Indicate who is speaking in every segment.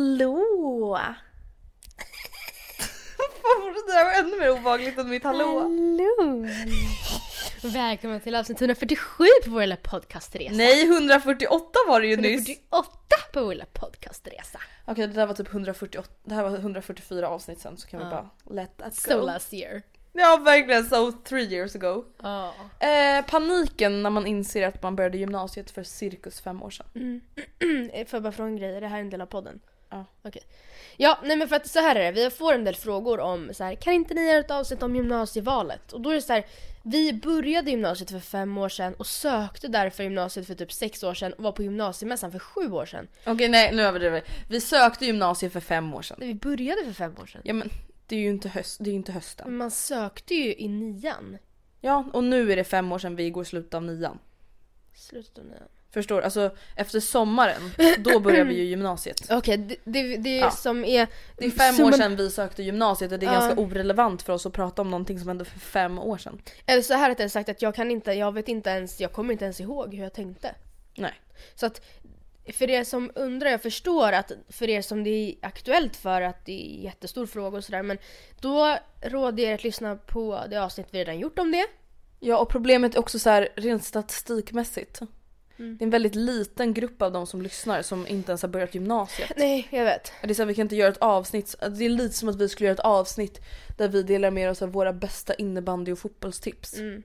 Speaker 1: Hallå!
Speaker 2: Fan, det där var ännu mer obehagligt än mitt hallå.
Speaker 1: Hallå! Välkomna till avsnitt 147 på vår lilla podcastresa.
Speaker 2: Nej, 148 var det ju nyss.
Speaker 1: 148 på vår lilla podcastresa.
Speaker 2: Okej, det där var typ 148, det här var 144 avsnitt sen så kan vi
Speaker 1: Ja.
Speaker 2: bara let that go.
Speaker 1: So last year.
Speaker 2: Ja, verkligen. So three years ago.
Speaker 1: Ja.
Speaker 2: Eh, paniken när man inser att man började gymnasiet för cirkus fem år sedan.
Speaker 1: Mm, eh, Får jag bara fråga en grej? Är det här en del av podden?
Speaker 2: Ja.
Speaker 1: Okej. Ja, nej men för att så här är det. Vi får en del frågor om så här, kan inte ni göra ett avsnitt om gymnasievalet? Och då är det så här, vi började gymnasiet för fem år sedan och sökte därför gymnasiet för typ sex år sedan och var på gymnasiemässan för sju år sedan.
Speaker 2: Okej, nej nu överdriver vi. Vi sökte gymnasiet för fem år sedan.
Speaker 1: Nej, Vi började för fem år sedan.
Speaker 2: Ja men det är ju inte, höst, det är ju inte hösten.
Speaker 1: Men man sökte ju i nian.
Speaker 2: Ja, och nu är det fem år sedan vi går i slutet av nian.
Speaker 1: Slutet av nian.
Speaker 2: Förstår? Alltså efter sommaren, då börjar vi ju gymnasiet.
Speaker 1: Okej, det, det, det är
Speaker 2: Ja.
Speaker 1: som är...
Speaker 2: Det är fem
Speaker 1: summan-
Speaker 2: år sedan vi sökte gymnasiet och det är
Speaker 1: Ja.
Speaker 2: ganska orelevant för oss att prata om någonting som hände för fem år sedan.
Speaker 1: Eller så här att jag sagt att jag kan inte, jag vet inte ens, jag kommer inte ens ihåg hur jag tänkte.
Speaker 2: Nej.
Speaker 1: Så att för er som undrar, jag förstår att för er som det är aktuellt för att det är jättestor fråga och sådär men då råder jag er att lyssna på det avsnitt vi redan gjort om det.
Speaker 2: Ja och problemet är också så här rent statistikmässigt.
Speaker 1: Mm.
Speaker 2: Det är en väldigt liten grupp av de som lyssnar som inte ens har börjat gymnasiet.
Speaker 1: Nej, jag vet.
Speaker 2: Det är så här, vi kan inte göra ett avsnitt, det är lite som att vi skulle göra ett avsnitt där vi delar med oss av våra bästa innebandy och fotbollstips.
Speaker 1: Mm.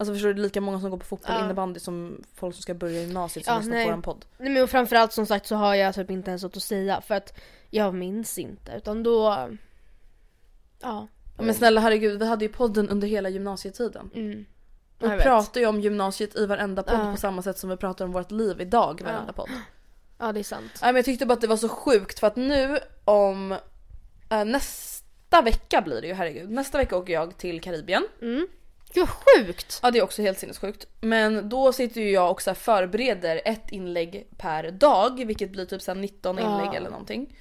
Speaker 2: Alltså förstår du, det är lika många som går på fotboll och
Speaker 1: Ja.
Speaker 2: innebandy som folk som ska börja gymnasiet som
Speaker 1: Ja,
Speaker 2: lyssnar
Speaker 1: nej.
Speaker 2: på våran podd.
Speaker 1: Nej, men och framförallt som sagt så har jag typ inte ens något att säga för att jag minns inte utan då... Ja.
Speaker 2: Ja, Men snälla herregud, vi hade ju podden under hela gymnasietiden.
Speaker 1: Mm.
Speaker 2: Vi
Speaker 1: Ja, jag vet.
Speaker 2: pratar ju om gymnasiet i varenda podd
Speaker 1: Ja.
Speaker 2: på samma sätt som vi pratar om vårt liv idag i varenda
Speaker 1: Ja.
Speaker 2: podd.
Speaker 1: Ja, det är sant.
Speaker 2: Nej, men jag tyckte bara att det var så sjukt för att nu om eh, nästa vecka blir det ju, herregud. Nästa vecka åker jag till Karibien.
Speaker 1: Mm. Gud vad sjukt!
Speaker 2: Ja det är också helt sinnessjukt. Men då sitter ju jag och så här förbereder ett inlägg per dag vilket blir typ så här 19
Speaker 1: Ja.
Speaker 2: inlägg eller någonting.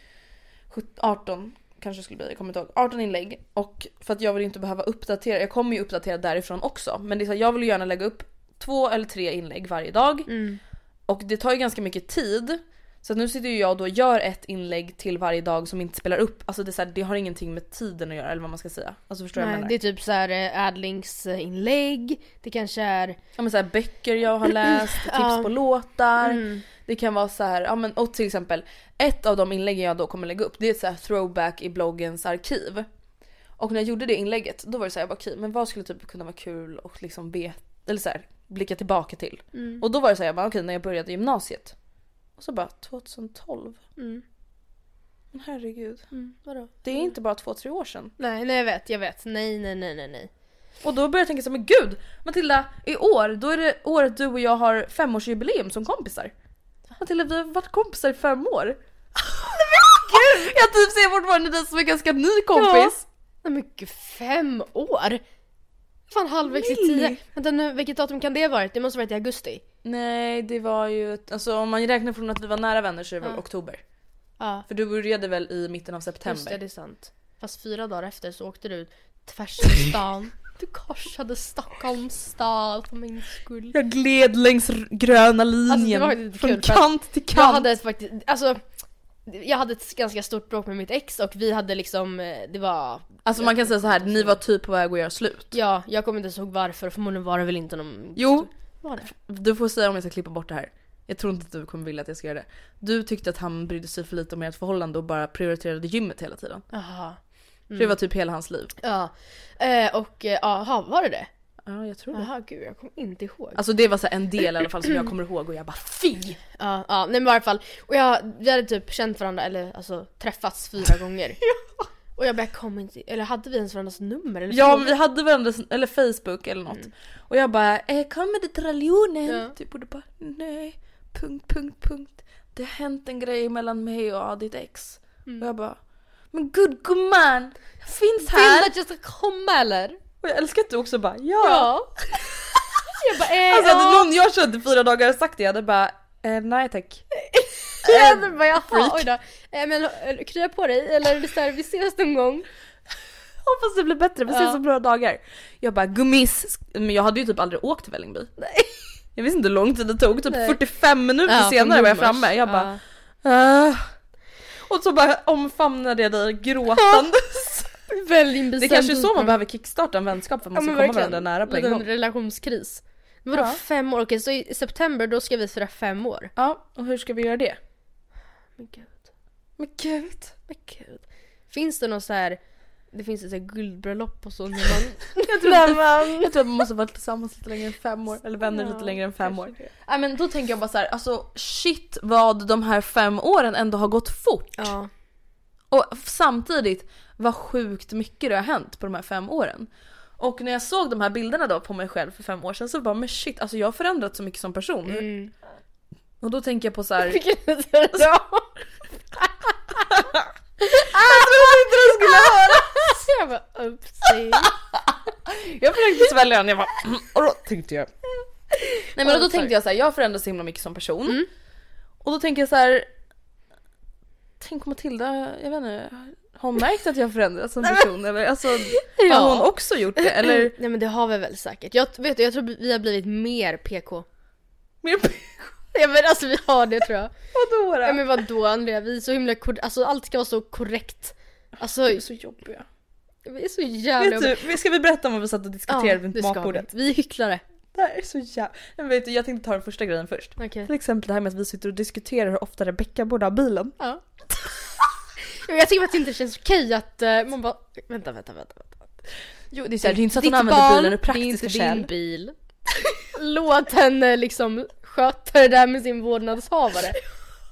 Speaker 2: Sjut- 18 kanske det skulle bli, jag kommer inte ihåg. 18 inlägg. Och för att jag vill inte behöva uppdatera, jag kommer ju uppdatera därifrån också. Men det är så här, jag vill ju gärna lägga upp två eller tre inlägg varje dag.
Speaker 1: Mm.
Speaker 2: Och det tar ju ganska mycket tid. Så att nu sitter ju jag och då gör ett inlägg till varje dag som inte spelar upp. Alltså det, är så här, det har ingenting med tiden att göra eller vad man ska säga. Alltså förstår du vad jag
Speaker 1: Nej,
Speaker 2: menar?
Speaker 1: det är typ såhär Adlings-inlägg, det kanske är...
Speaker 2: Ja, men så här, böcker jag har läst, tips
Speaker 1: Ja.
Speaker 2: på låtar.
Speaker 1: Mm.
Speaker 2: Det kan vara så här, ja men och till exempel ett av de inläggen jag då kommer lägga upp det är ett så här throwback i bloggens arkiv. Och när jag gjorde det inlägget då var det så här, jag bara, okej men vad skulle typ kunna vara kul och liksom be, eller så här, blicka tillbaka till.
Speaker 1: Mm.
Speaker 2: Och då var det så här, jag bara, okej när jag började gymnasiet. Och så bara 2012.
Speaker 1: Mm.
Speaker 2: Men herregud.
Speaker 1: Mm. Vadå?
Speaker 2: Det är inte bara två, tre år sedan.
Speaker 1: Nej, nej jag vet, jag vet. Nej, nej, nej, nej, nej.
Speaker 2: Och då började jag tänka så här, men gud Matilda, i år då är det året du och jag har femårsjubileum som kompisar. Matilda vi har varit kompisar i fem år. gud! Jag typ ser fortfarande dig som en ganska ny kompis.
Speaker 1: Nej men gud, fem år! Fan halvvägs i
Speaker 2: Really?
Speaker 1: tio. Vänta nu, vilket datum kan det ha varit? Det måste ha varit i augusti.
Speaker 2: Nej det var ju, ett- alltså om man räknar från att vi var nära vänner så är det väl
Speaker 1: Ja.
Speaker 2: oktober.
Speaker 1: Ja,
Speaker 2: För du började väl i mitten av september?
Speaker 1: just det, det är sant. Fast fyra dagar efter så åkte du ut tvärs över stan. Du korsade Stockholms stad för min skull.
Speaker 2: Jag gled längs r- gröna linjen
Speaker 1: var faktiskt
Speaker 2: från
Speaker 1: kul för att
Speaker 2: kant till kant.
Speaker 1: Jag hade ett faktiskt, alltså jag hade ett ganska stort bråk med mitt ex och vi hade liksom, eh, det var,
Speaker 2: Alltså man kan säga så här, ni var typ på väg att göra slut.
Speaker 1: ja jag kommer inte ens ihåg varför, förmodligen var det väl inte någon...
Speaker 2: Jo,
Speaker 1: Var det?
Speaker 2: Du får säga om jag ska klippa bort det här. Jag tror inte att du kommer vilja att jag ska göra det. Du tyckte att han brydde sig för lite om ert förhållande och bara prioriterade gymmet hela tiden.
Speaker 1: Jaha.
Speaker 2: För det var typ hela hans liv.
Speaker 1: Ja. Eh, och, eh, jaha, var det det?
Speaker 2: Ja, jag tror det.
Speaker 1: Jaha, gud jag kommer inte ihåg.
Speaker 2: Alltså det var så här en del i alla fall som jag kommer ihåg och jag bara FY!
Speaker 1: Ja, ja, nej men i alla fall. Och jag, vi hade typ känt varandra, eller alltså träffats fyra gånger. Och jag bara, jag kommer inte, eller hade vi ens varandras nummer? Eller
Speaker 2: Ja
Speaker 1: frågade
Speaker 2: men vi hade varandras, eller Facebook eller något. Och jag bara eh, kommer det till religionen?
Speaker 1: Ja.
Speaker 2: Typ och du bara nej, punkt, punkt, punkt. Det har hänt en grej mellan mig och ditt ex.
Speaker 1: Mm.
Speaker 2: Och jag bara men gud gumman, jag finns här!
Speaker 1: Vill du att jag ska komma eller?
Speaker 2: Och jag älskar att du också bara ja.
Speaker 1: Ja. jag bara, eh,
Speaker 2: Alltså hade
Speaker 1: ja.
Speaker 2: någon jag körde fyra dagar sagt det jag hade bara eh, nej tack.
Speaker 1: Jag hade bara, jaha,
Speaker 2: freak.
Speaker 1: oj då. Eh, men eh, krya på dig, eller det är så här, vi ses någon gång.
Speaker 2: Typ Hoppas det blir bättre, vi ses
Speaker 1: Ja.
Speaker 2: om några dagar. Jag bara gummis, men jag hade ju typ aldrig åkt till Vällingby. Jag visste inte hur lång tid det tog, typ
Speaker 1: Nej.
Speaker 2: 45 minuter
Speaker 1: Ja,
Speaker 2: senare var jag
Speaker 1: nummers.
Speaker 2: framme. Jag
Speaker 1: Ja.
Speaker 2: bara ah. Och så bara omfamnade jag dig gråtandes.
Speaker 1: Väldigt
Speaker 2: Det är kanske är så man behöver kickstarta en vänskap för att man ska komma varandra nära på en
Speaker 1: Liten
Speaker 2: gång.
Speaker 1: relationskris. Vadå
Speaker 2: Ja.
Speaker 1: fem år? Okej, så i september då ska vi fira fem år.
Speaker 2: Ja, och hur ska vi göra det?
Speaker 1: Men gud,
Speaker 2: Men gud.
Speaker 1: men gud. Finns det någon så här... Det finns ett så här guldbröllop och så när man...
Speaker 2: Jag tror,
Speaker 1: när
Speaker 2: att,
Speaker 1: man...
Speaker 2: jag tror att man måste vara tillsammans lite längre än fem år, eller vänner lite längre än fem år. Nej men då tänker jag bara så här, alltså shit vad de här fem åren ändå har gått fort.
Speaker 1: Ja.
Speaker 2: Och samtidigt, vad sjukt mycket det har hänt på de här fem åren. Och när jag såg de här bilderna då på mig själv för fem år sedan så bara men shit, alltså jag har förändrats så mycket som person.
Speaker 1: Mm.
Speaker 2: Och då tänker jag på så här. Alltså,
Speaker 1: Vilken bra!
Speaker 2: Jag trodde inte det skulle höra!
Speaker 1: Jag bara oopsie.
Speaker 2: Jag försökte svälja den, jag bara och då tänkte jag. Nej men och då
Speaker 1: Sorry.
Speaker 2: tänkte jag så här, jag har förändrats så himla mycket som person.
Speaker 1: Mm.
Speaker 2: Och då tänker jag så här. Tänk om Matilda, jag vet inte, har hon märkt att jag har förändrats som person eller alltså har hon också gjort det eller?
Speaker 1: Mm. Nej men det har vi väl säkert. Jag, vet du, jag tror vi har blivit mer PK.
Speaker 2: Mer
Speaker 1: Ja men alltså vi har det tror jag.
Speaker 2: Vadå då?
Speaker 1: Ja men vadå Andrea, vi är så himla kor- alltså allt ska vara så korrekt. Alltså
Speaker 2: Vi är så jobbiga. Alltså,
Speaker 1: vi är så jävla...
Speaker 2: Vet du, typ, vi- ska vi berätta om vad vi satt och diskuterade
Speaker 1: Ja,
Speaker 2: runt
Speaker 1: det ska
Speaker 2: matbordet?
Speaker 1: Vi Vi är hycklare.
Speaker 2: Det här är så jävla... Men vet du, jag tänkte ta den första grejen först.
Speaker 1: Okej.
Speaker 2: Till exempel det här med att vi sitter och diskuterar hur ofta Rebecca borde ha bilen.
Speaker 1: Ja. Jo, Jag tycker faktiskt inte det känns okej att eh, man bara, vänta, vänta, vänta. vänta.
Speaker 2: Jo det är så här, det är inte så att
Speaker 1: Ditt
Speaker 2: hon använder bilen ur
Speaker 1: det är inte
Speaker 2: praktiska
Speaker 1: din
Speaker 2: skäl.
Speaker 1: bil. Låt henne liksom sköta det där med sin vårdnadshavare.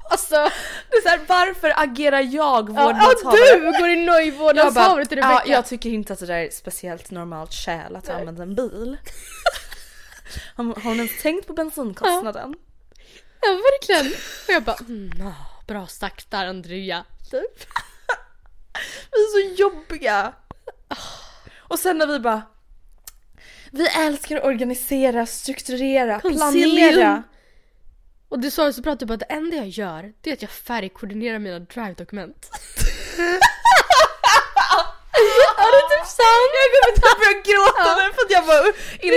Speaker 1: Alltså,
Speaker 2: Det är så här, varför agerar jag
Speaker 1: ja,
Speaker 2: vårdnadshavare?
Speaker 1: ja, du går i nöjd
Speaker 2: Jag bara,
Speaker 1: vårdnadshavare till Rebecka.
Speaker 2: ja, jag tycker inte att det där är ett speciellt normalt skäl att använda en bil. Har har hon ens tänkt på bensinkostnaden?
Speaker 1: Ja verkligen. Och jag bara mm, ah, bra sagt där Andrea. Typ.
Speaker 2: Vi är så jobbiga! Och sen när vi bara... Vi älskar att organisera, strukturera,
Speaker 1: Concilium.
Speaker 2: planera.
Speaker 1: Och du sa ju så bra typ att det enda jag gör det är att jag färgkoordinerar mina drive-dokument.
Speaker 2: Är det typ sant? Jag kommer typ börja gråta nu för att jag bara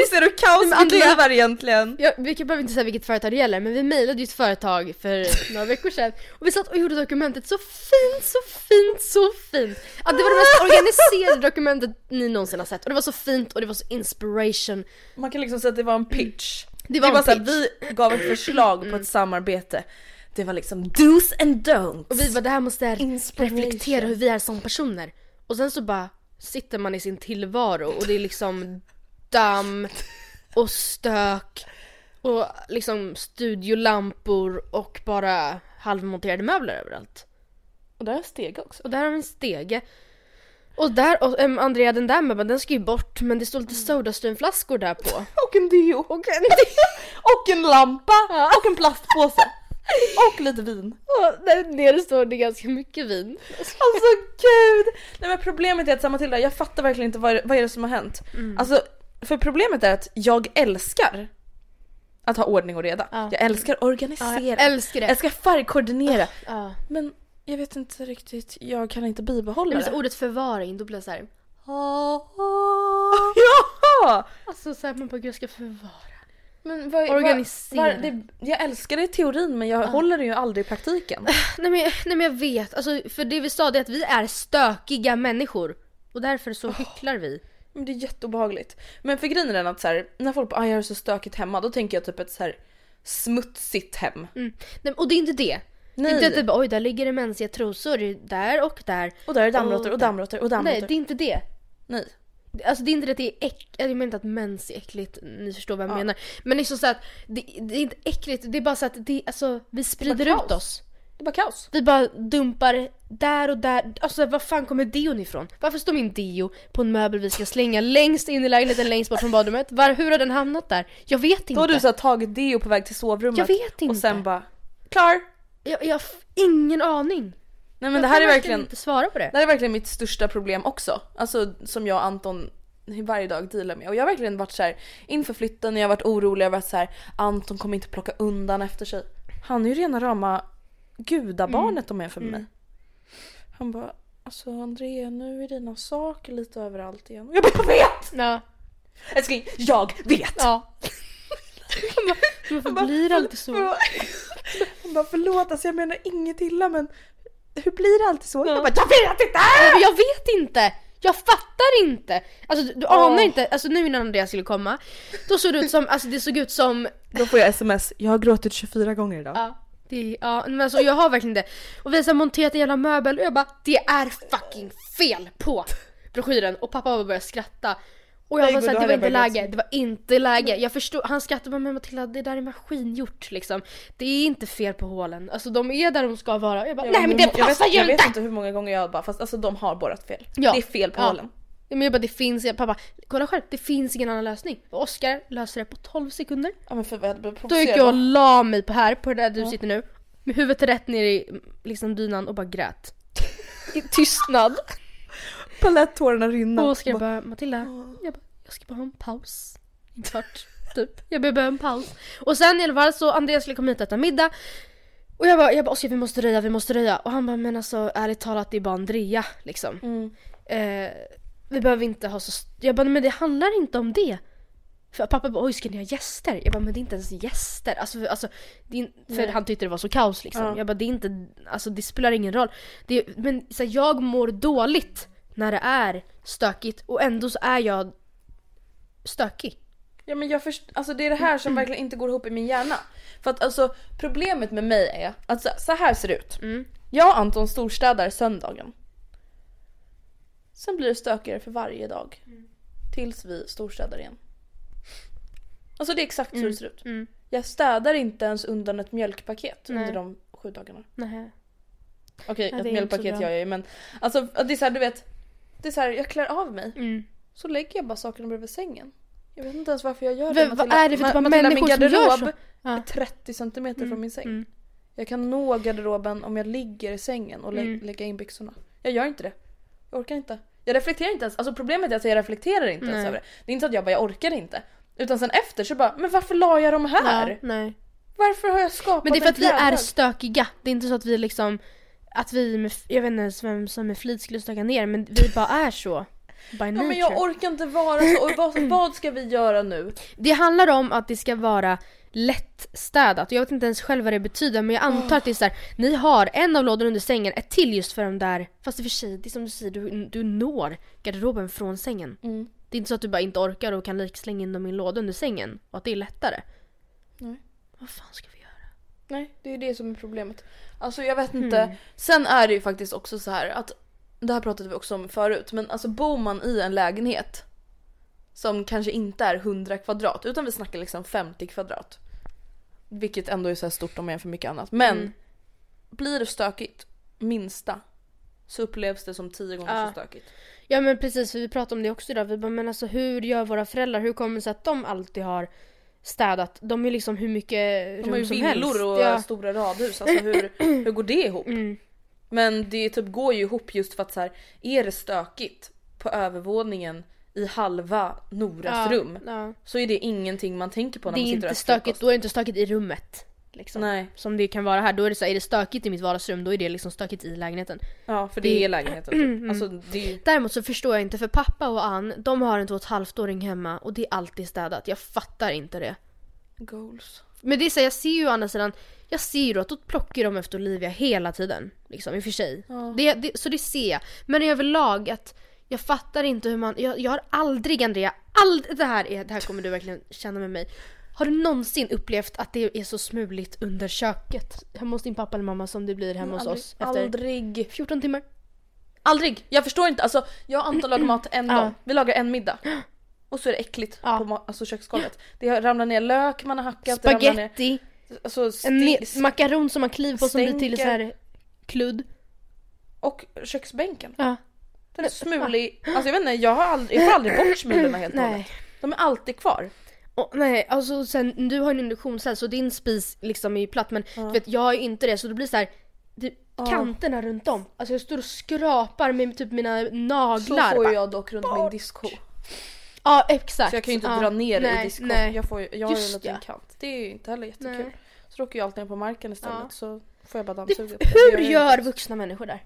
Speaker 2: inser hur kaos
Speaker 1: Men
Speaker 2: mitt
Speaker 1: Andrea-
Speaker 2: liv är egentligen.
Speaker 1: Jag, vi kan- behöver inte säga vilket företag det gäller men vi mejlade ju ett företag för några veckor sedan och vi satt och gjorde dokumentet så fint, så fint, så fint. Att det var det mest organiserade dokumentet ni någonsin har sett och det var så fint och det var så inspiration.
Speaker 2: Man kan liksom säga att det var en pitch. Mm.
Speaker 1: Det
Speaker 2: Det
Speaker 1: var,
Speaker 2: var,
Speaker 1: en
Speaker 2: så här,
Speaker 1: pitch.
Speaker 2: vi gav ett förslag på ett samarbete. Det var liksom do's and don'ts.
Speaker 1: Och vi bara det här måste
Speaker 2: Inspiration.
Speaker 1: reflektera hur vi är som personer. Och sen så bara sitter man i sin tillvaro och det är liksom damm och stök och liksom studiolampor och bara halvmonterade möbler överallt.
Speaker 2: Och där är Stege också.
Speaker 1: Och där har vi en stege. Och där, och, äm, Andrea den där möbeln den ska ju bort men det står lite Sodastreamflaskor där på.
Speaker 2: Och en deo. Och en, och en lampa. Och en plastpåse. Och lite vin.
Speaker 1: Och där nere står det ganska mycket vin.
Speaker 2: Alltså gud! Nej men problemet är att så här, Matilda, jag fattar verkligen inte vad, vad är det som har hänt.
Speaker 1: Mm.
Speaker 2: Alltså, för problemet är att jag älskar att ha ordning och reda.
Speaker 1: Ja.
Speaker 2: Jag älskar organisera.
Speaker 1: jag
Speaker 2: jag,
Speaker 1: älskar det.
Speaker 2: älskar färgkoordinera.
Speaker 1: Ja.
Speaker 2: Men jag vet inte riktigt, jag kan inte bibehålla
Speaker 1: Men så
Speaker 2: det.
Speaker 1: ordet förvaring, då blir jag såhär
Speaker 2: Jaha!
Speaker 1: Alltså såhär man bara gud jag ska förvara.
Speaker 2: Men vad,
Speaker 1: Organisera.
Speaker 2: Vad, vad, det, jag älskar det i teorin men jag håller det ju aldrig i praktiken.
Speaker 1: Nej men, nej men jag vet, alltså, för det vi sa det är att vi är stökiga människor. Och därför så hycklar vi.
Speaker 2: Men det är jätteobehagligt. Men för grejen är den att så här, när folk bara ah, jag har så stökigt hemma då tänker jag typ ett så här smutsigt hem.
Speaker 1: Mm. Nej, och det är inte det. Det är
Speaker 2: Nej.
Speaker 1: inte att det bara, oj där ligger det mänskliga trosor där och där.
Speaker 2: Och där är dammråttor och
Speaker 1: där.
Speaker 2: dammråttor och
Speaker 1: Nej
Speaker 2: dammråttor.
Speaker 1: det är inte det.
Speaker 2: Nej.
Speaker 1: Alltså det är inte det att det är äckligt, jag menar inte att mens är äckligt, ni förstår vad jag
Speaker 2: Ja.
Speaker 1: menar. Men det är så att det, det är inte äckligt, det är bara så att det, alltså, vi sprider
Speaker 2: kaos.
Speaker 1: ut oss.
Speaker 2: Det är bara kaos.
Speaker 1: Vi bara dumpar där och där. Alltså var fan kommer deon ifrån? Varför står min deo på en möbel vi ska slänga längst in i lägenheten längst bort från badrummet? Var, hur har den hamnat där? Jag vet inte.
Speaker 2: Då har du så här, tagit deo på väg till sovrummet.
Speaker 1: Jag vet
Speaker 2: Och
Speaker 1: inte.
Speaker 2: sen bara klar.
Speaker 1: jag, jag har f- ingen aning.
Speaker 2: Nej men
Speaker 1: jag
Speaker 2: det här
Speaker 1: kan
Speaker 2: är verkligen,
Speaker 1: inte svara på det.
Speaker 2: det här är verkligen mitt största problem också. Alltså som jag och Anton varje dag dealar med. Och jag har verkligen varit så här inför flytten, jag har varit orolig, jag har varit så här Anton kommer inte plocka undan efter sig. Han är ju rena rama gudabarnet om jag för mig. Mm. Han bara alltså Andrea nu är dina saker lite överallt igen. Och Jag bara jag vet!
Speaker 1: Ja.
Speaker 2: Älskling, jag vet!
Speaker 1: ja. Men Varför blir det alltid så?
Speaker 2: Han bara förlåt alltså jag menar inget illa men
Speaker 3: hur blir det alltid så?
Speaker 2: Ja.
Speaker 3: Jag bara, jag vet inte!
Speaker 1: Men jag vet inte! Jag fattar inte! Alltså du, du anar
Speaker 2: Åh.
Speaker 1: inte, alltså nu innan Andreas skulle komma, då såg det ut som, alltså det såg ut som,
Speaker 3: Då får jag sms, jag har gråtit 24 gånger idag.
Speaker 1: ja, det, ja men alltså jag har verkligen det. Och vi har så här monterat en jävla möbel och jag bara det är fucking fel på broschyren och pappa bara började skratta. Och jag
Speaker 3: Nej,
Speaker 1: var
Speaker 3: gud, då
Speaker 1: såhär, det
Speaker 3: hade
Speaker 1: var
Speaker 3: jag
Speaker 1: inte
Speaker 3: börjat
Speaker 1: läge, det var inte läge. Jag förstod, han skrattade bara men Matilda det där är maskingjort liksom. Det är inte fel på hålen, alltså de är där de ska vara. Jag bara, nej men det
Speaker 2: jag
Speaker 1: passar
Speaker 2: vet,
Speaker 1: ju
Speaker 2: Jag vet
Speaker 1: inte!
Speaker 2: inte hur många gånger jag bara, fast alltså de har borrat fel.
Speaker 1: Ja.
Speaker 2: Det är fel på
Speaker 1: Ja.
Speaker 2: hålen.
Speaker 1: Ja, men jag bara det finns, pappa kolla själv, det finns ingen annan lösning. Och Oskar löser det på 12 sekunder.
Speaker 2: Ja men för vad jag hade blivit
Speaker 1: Då gick
Speaker 2: provocerad.
Speaker 1: jag och la mig på här, på där du sitter nu. Med huvudet rätt ner i liksom, dynan och bara grät. I tystnad.
Speaker 3: Bara lät tårarna
Speaker 1: Och
Speaker 3: rinna.
Speaker 1: Oskar bara Matilda, jag, bara, jag ska bara ha en paus. En kvart, typ. Jag behöver en paus. Och sen i alla fall så Andreas skulle komma hit och äta middag. Och jag bara, jag bara Oskar vi måste röja, vi måste röja. Och han bara men alltså ärligt talat det är bara Andrea liksom.
Speaker 2: Mm.
Speaker 1: Eh, vi behöver inte ha så... st- Jag bara, men det handlar inte om det. För pappa bara, oj ska ni ha gäster? Jag bara, men det är inte ens gäster. Alltså, för, alltså, det är, in- för
Speaker 2: Nej.
Speaker 1: han tyckte det var så kaos liksom.
Speaker 2: Ja.
Speaker 1: Jag bara, det är inte, alltså det spelar ingen roll. Det, är- men så här, jag mår dåligt när det är stökigt och ändå så är jag stökig.
Speaker 2: Ja men jag först, alltså det är det här som verkligen inte går ihop i min hjärna. För att alltså problemet med mig är att så, så här ser det ut.
Speaker 1: Mm.
Speaker 2: Jag och Anton storstädar söndagen. Sen blir det stökigare för varje dag.
Speaker 1: Mm.
Speaker 2: Tills vi storstädar igen. Alltså det är exakt så det ser ut.
Speaker 1: Mm.
Speaker 2: Jag städar inte ens undan ett mjölkpaket
Speaker 1: Nej.
Speaker 2: under de sju dagarna.
Speaker 1: Nej.
Speaker 2: Okej,
Speaker 3: Ja, det är
Speaker 2: ett
Speaker 3: inte så
Speaker 2: mjölkpaket
Speaker 3: bra.
Speaker 2: gör jag ju men alltså det är såhär du vet. Det är såhär jag klär av mig.
Speaker 1: Mm.
Speaker 2: Så lägger jag bara sakerna bredvid sängen. Jag vet inte ens varför jag gör det.
Speaker 1: Vem, vad
Speaker 2: Matilda.
Speaker 1: är det för
Speaker 2: Ma-
Speaker 1: typ av
Speaker 2: Matilda,
Speaker 1: människor som
Speaker 2: min
Speaker 1: gör
Speaker 2: garderob
Speaker 1: så? Ja.
Speaker 2: är 30 centimeter från min säng.
Speaker 1: Mm.
Speaker 2: Jag kan nå garderoben om jag ligger i sängen och lä-
Speaker 1: Mm.
Speaker 2: lägga in byxorna. Jag gör inte det. Jag orkar inte. Jag reflekterar inte ens. Alltså problemet är att jag reflekterar inte ens
Speaker 1: Nej.
Speaker 2: över det. Det är inte så att jag bara jag orkar inte. Utan sen efter så bara, men varför la jag dem här?
Speaker 1: Ja, nej.
Speaker 2: Varför har jag skapat
Speaker 1: Men det är för
Speaker 2: en
Speaker 1: att vi är
Speaker 2: klädhög?
Speaker 1: stökiga. Det är inte så att vi liksom att vi, med, jag vet inte ens vem som med flit skulle stöka ner men vi bara är så. By
Speaker 2: Ja,
Speaker 1: nature.
Speaker 2: men jag orkar inte vara så. Och vad, vad ska vi göra nu?
Speaker 1: det handlar om att det ska vara lättstädat och jag vet inte ens själv vad det betyder men jag antar att det är såhär, ni har en av lådorna under sängen, ett till just för de där, fast i och för sig, det är som du säger, du, du når garderoben från sängen.
Speaker 2: Mm.
Speaker 1: Det är inte så att du bara inte orkar och kan likslänga in dem i en låda under sängen och att det är lättare.
Speaker 2: Nej.
Speaker 1: Vad fan ska vi göra?
Speaker 2: Nej, det är ju det som är problemet. Alltså jag vet inte.
Speaker 1: Hmm.
Speaker 2: Sen är det ju faktiskt också så här att det här pratade vi också om förut, men alltså bor man i en lägenhet som kanske inte är 100 kvadrat utan vi snackar liksom 50 kvadrat. Vilket ändå är så här stort om man jämför mycket annat. Men
Speaker 1: Mm.
Speaker 2: blir det stökigt, minsta, så upplevs det som tio gånger
Speaker 1: Ja.
Speaker 2: så stökigt.
Speaker 1: Ja men precis, för vi pratade om det också idag. Vi bara, men alltså hur gör våra föräldrar? Hur kommer det sig att de alltid har städat? De är liksom hur mycket
Speaker 2: De
Speaker 1: rum
Speaker 2: har ju
Speaker 1: som
Speaker 2: villor
Speaker 1: helst.
Speaker 2: och
Speaker 1: Ja.
Speaker 2: stora radhus, alltså hur, hur går det ihop?
Speaker 1: Mm.
Speaker 2: Men det typ går ju ihop just för att så här, är det stökigt på övervåningen i halva Noras
Speaker 1: Ja,
Speaker 2: rum
Speaker 1: Ja.
Speaker 2: så är det ingenting man tänker på när
Speaker 1: Det är
Speaker 2: man sitter och
Speaker 1: inte
Speaker 2: äter
Speaker 1: stökigt,
Speaker 2: frukost.
Speaker 1: då är det inte stökigt i rummet. Liksom.
Speaker 2: Nej,
Speaker 1: Som det kan vara här. Då är det så här, är det stökigt i mitt vardagsrum då är det liksom stökigt i lägenheten.
Speaker 2: ja för det,
Speaker 1: Det- Mm.
Speaker 2: är lägenheten typ. Alltså det är ju...
Speaker 1: Däremot så förstår jag inte för pappa och Ann, de har en två och ett halvt åring hemma och det är alltid städat. Jag fattar inte det.
Speaker 2: Goals.
Speaker 1: Men det är så här, jag ser ju å andra sidan, jag ser ju då att då plockar de efter Olivia hela tiden. Liksom i och för sig. Det, det, så det ser jag. Men överlag att jag fattar inte hur man, jag, jag har aldrig Andrea, aldrig, det, här är, det här kommer du verkligen känna med mig. Har du någonsin upplevt att det är så smuligt under köket? Hemma hos din pappa eller mamma som det blir hemma hos
Speaker 2: aldrig,
Speaker 1: oss efter
Speaker 2: aldrig.
Speaker 1: 14 timmar?
Speaker 2: Aldrig! Jag förstår inte, alltså jag och Anton lagar mat en
Speaker 1: Ja.
Speaker 2: gång. Vi lagar en middag. Och så är det äckligt
Speaker 1: Ja.
Speaker 2: på ma- alltså, köksgolvet. Det ramlar ner lök man har hackat, det ramlar ner...
Speaker 1: Spaghetti,
Speaker 2: Alltså,
Speaker 1: en
Speaker 2: sti-
Speaker 1: ne- makaron som man kliver på som blir till så här kludd.
Speaker 2: och köksbänken.
Speaker 1: Ja.
Speaker 2: Den är smulig. Alltså jag vet inte, jag, har aldrig, jag får aldrig bort smulorna helt och
Speaker 1: Nej.
Speaker 2: hållet. De är alltid kvar.
Speaker 1: Och, nej, alltså sen, du har en induktionshäll så din spis liksom är ju platt men du vet, jag har ju inte det så det blir så här, det, kanterna runt om. Alltså jag står och skrapar med typ mina
Speaker 2: Så
Speaker 1: naglar.
Speaker 2: får
Speaker 1: bara.
Speaker 2: ju jag dock runt min diskho.
Speaker 1: Ja exakt.
Speaker 2: Så jag kan ju inte
Speaker 1: ja.
Speaker 2: dra ner det
Speaker 1: nej,
Speaker 2: i diskhon.
Speaker 1: Nej.
Speaker 2: Jag, får ju, jag har ju en
Speaker 1: Just
Speaker 2: liten
Speaker 1: ja.
Speaker 2: kant. Det är ju inte heller jättekul.
Speaker 1: Nej.
Speaker 2: Så då åker jag alltid ner på marken istället
Speaker 1: Ja.
Speaker 2: så får jag bara
Speaker 1: Det,
Speaker 2: dammsuga. på det.
Speaker 1: hur
Speaker 2: Jag
Speaker 1: gör
Speaker 2: inte-
Speaker 1: vuxna människor där?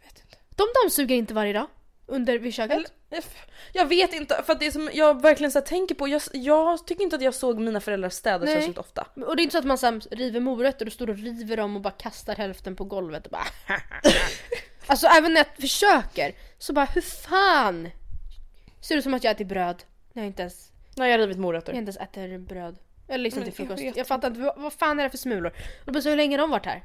Speaker 2: Jag vet inte.
Speaker 1: De dammsuger inte varje dag. under vid köket?
Speaker 2: Eller- Jag vet inte, för att det är som jag verkligen så här tänker på, jag, jag tycker inte att jag såg mina föräldrar städa
Speaker 1: Nej.
Speaker 2: särskilt ofta.
Speaker 1: Och det är inte så att man så här, river morötter och står och river dem och bara kastar hälften på golvet och bara Alltså även när jag försöker så bara hur fan ser det ut som att jag äter bröd när jag inte ens,
Speaker 2: När jag har rivit
Speaker 1: jag
Speaker 2: morötter.
Speaker 1: inte ens äter bröd. Eller liksom
Speaker 2: Men
Speaker 1: till
Speaker 2: jag
Speaker 1: frukost.
Speaker 2: vet
Speaker 1: Jag, fattar inte, vad, vad fan är det för smulor? Och bara så hur länge har de varit här?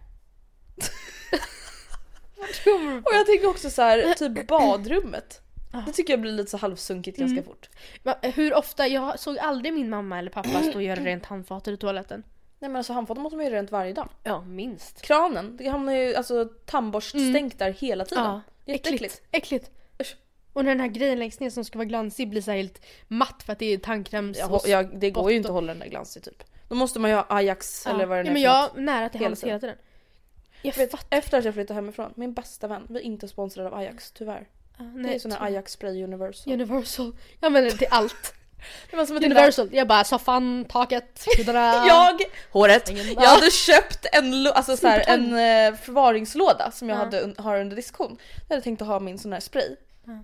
Speaker 1: Vad tror du?
Speaker 2: Och jag tänker också så här, typ badrummet. Det tycker jag blir lite så halvsunkigt
Speaker 1: Mm.
Speaker 2: ganska fort.
Speaker 1: Va- Hur ofta, jag såg aldrig min mamma eller pappa stå och göra rent handfatet i toaletten.
Speaker 2: Nej men alltså handfatet måste man ju rent varje dag.
Speaker 1: Ja, minst.
Speaker 2: Kranen, det hamnar ju alltså tandborststänk där hela tiden.
Speaker 1: Mm. Ja,
Speaker 2: Jätteäckligt.
Speaker 1: Äckligt. Äckligt.
Speaker 2: Usch.
Speaker 1: Och när den här grejen längst ner som ska vara glansig blir så här helt matt för att det är tandkräms...
Speaker 2: Jag, jag, det går ju inte att
Speaker 1: botten.
Speaker 2: hålla den där glansen typ. Då måste man ju ha Ajax eller vad det nu
Speaker 1: ja, men
Speaker 2: är för något.
Speaker 1: jag är nära till
Speaker 2: Hela
Speaker 1: hans hela tiden. Jag
Speaker 2: Vet,
Speaker 1: fattar.
Speaker 2: efter att jag flyttade hemifrån, min bästa vän, vi är inte sponsrade av Ajax tyvärr.
Speaker 1: Nej,
Speaker 2: det är sån här
Speaker 1: tror-
Speaker 2: Ajax Spray Universal.
Speaker 1: Universal. Jag använder det till allt.
Speaker 2: det var som ett universum.
Speaker 1: Universal. Jag bara soffan, taket, huddarna.
Speaker 2: Jag, håret,
Speaker 1: Ingen-
Speaker 2: jag hade köpt en, lo- alltså så här, en
Speaker 1: Supertank.
Speaker 2: eh, förvaringslåda som jag
Speaker 1: Ja.
Speaker 2: hade, un- har under diskon. Jag hade tänkt att ha min sån här spray.
Speaker 1: Ja.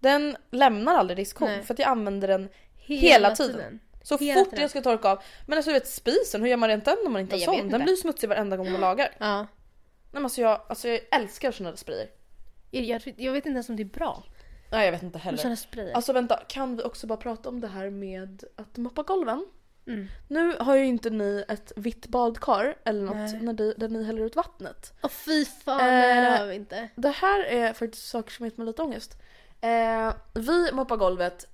Speaker 2: Den lämnar aldrig diskon
Speaker 1: Nej.
Speaker 2: för att jag använder den hela, tiden. Så
Speaker 1: Hela
Speaker 2: fort
Speaker 1: tiden.
Speaker 2: jag ska torka av. Men alltså du vet spisen, hur gör man rent den när man inte
Speaker 1: Nej,
Speaker 2: har
Speaker 1: jag
Speaker 2: sån?
Speaker 1: vet
Speaker 2: Den
Speaker 1: inte.
Speaker 2: blir ju smutsig varenda gång man lagar. Nej,
Speaker 1: Ja.
Speaker 2: men alltså, jag, alltså jag älskar såna där sprayer.
Speaker 1: Jag, jag, jag vet inte ens om det är bra.
Speaker 2: Nej jag vet inte
Speaker 1: Med
Speaker 2: heller.
Speaker 1: sådana sprayer.
Speaker 2: Alltså vänta, kan vi också bara prata om det här med att moppa golven?
Speaker 1: Mm.
Speaker 2: Nu har ju inte ni ett vitt badkar eller något
Speaker 1: Nej.
Speaker 2: när ni, där ni häller ut vattnet.
Speaker 1: Åh fy fan, nej det
Speaker 2: Eh,
Speaker 1: har vi inte.
Speaker 2: Det här är faktiskt saker som gett mig lite ångest. Eh, vi moppar golvet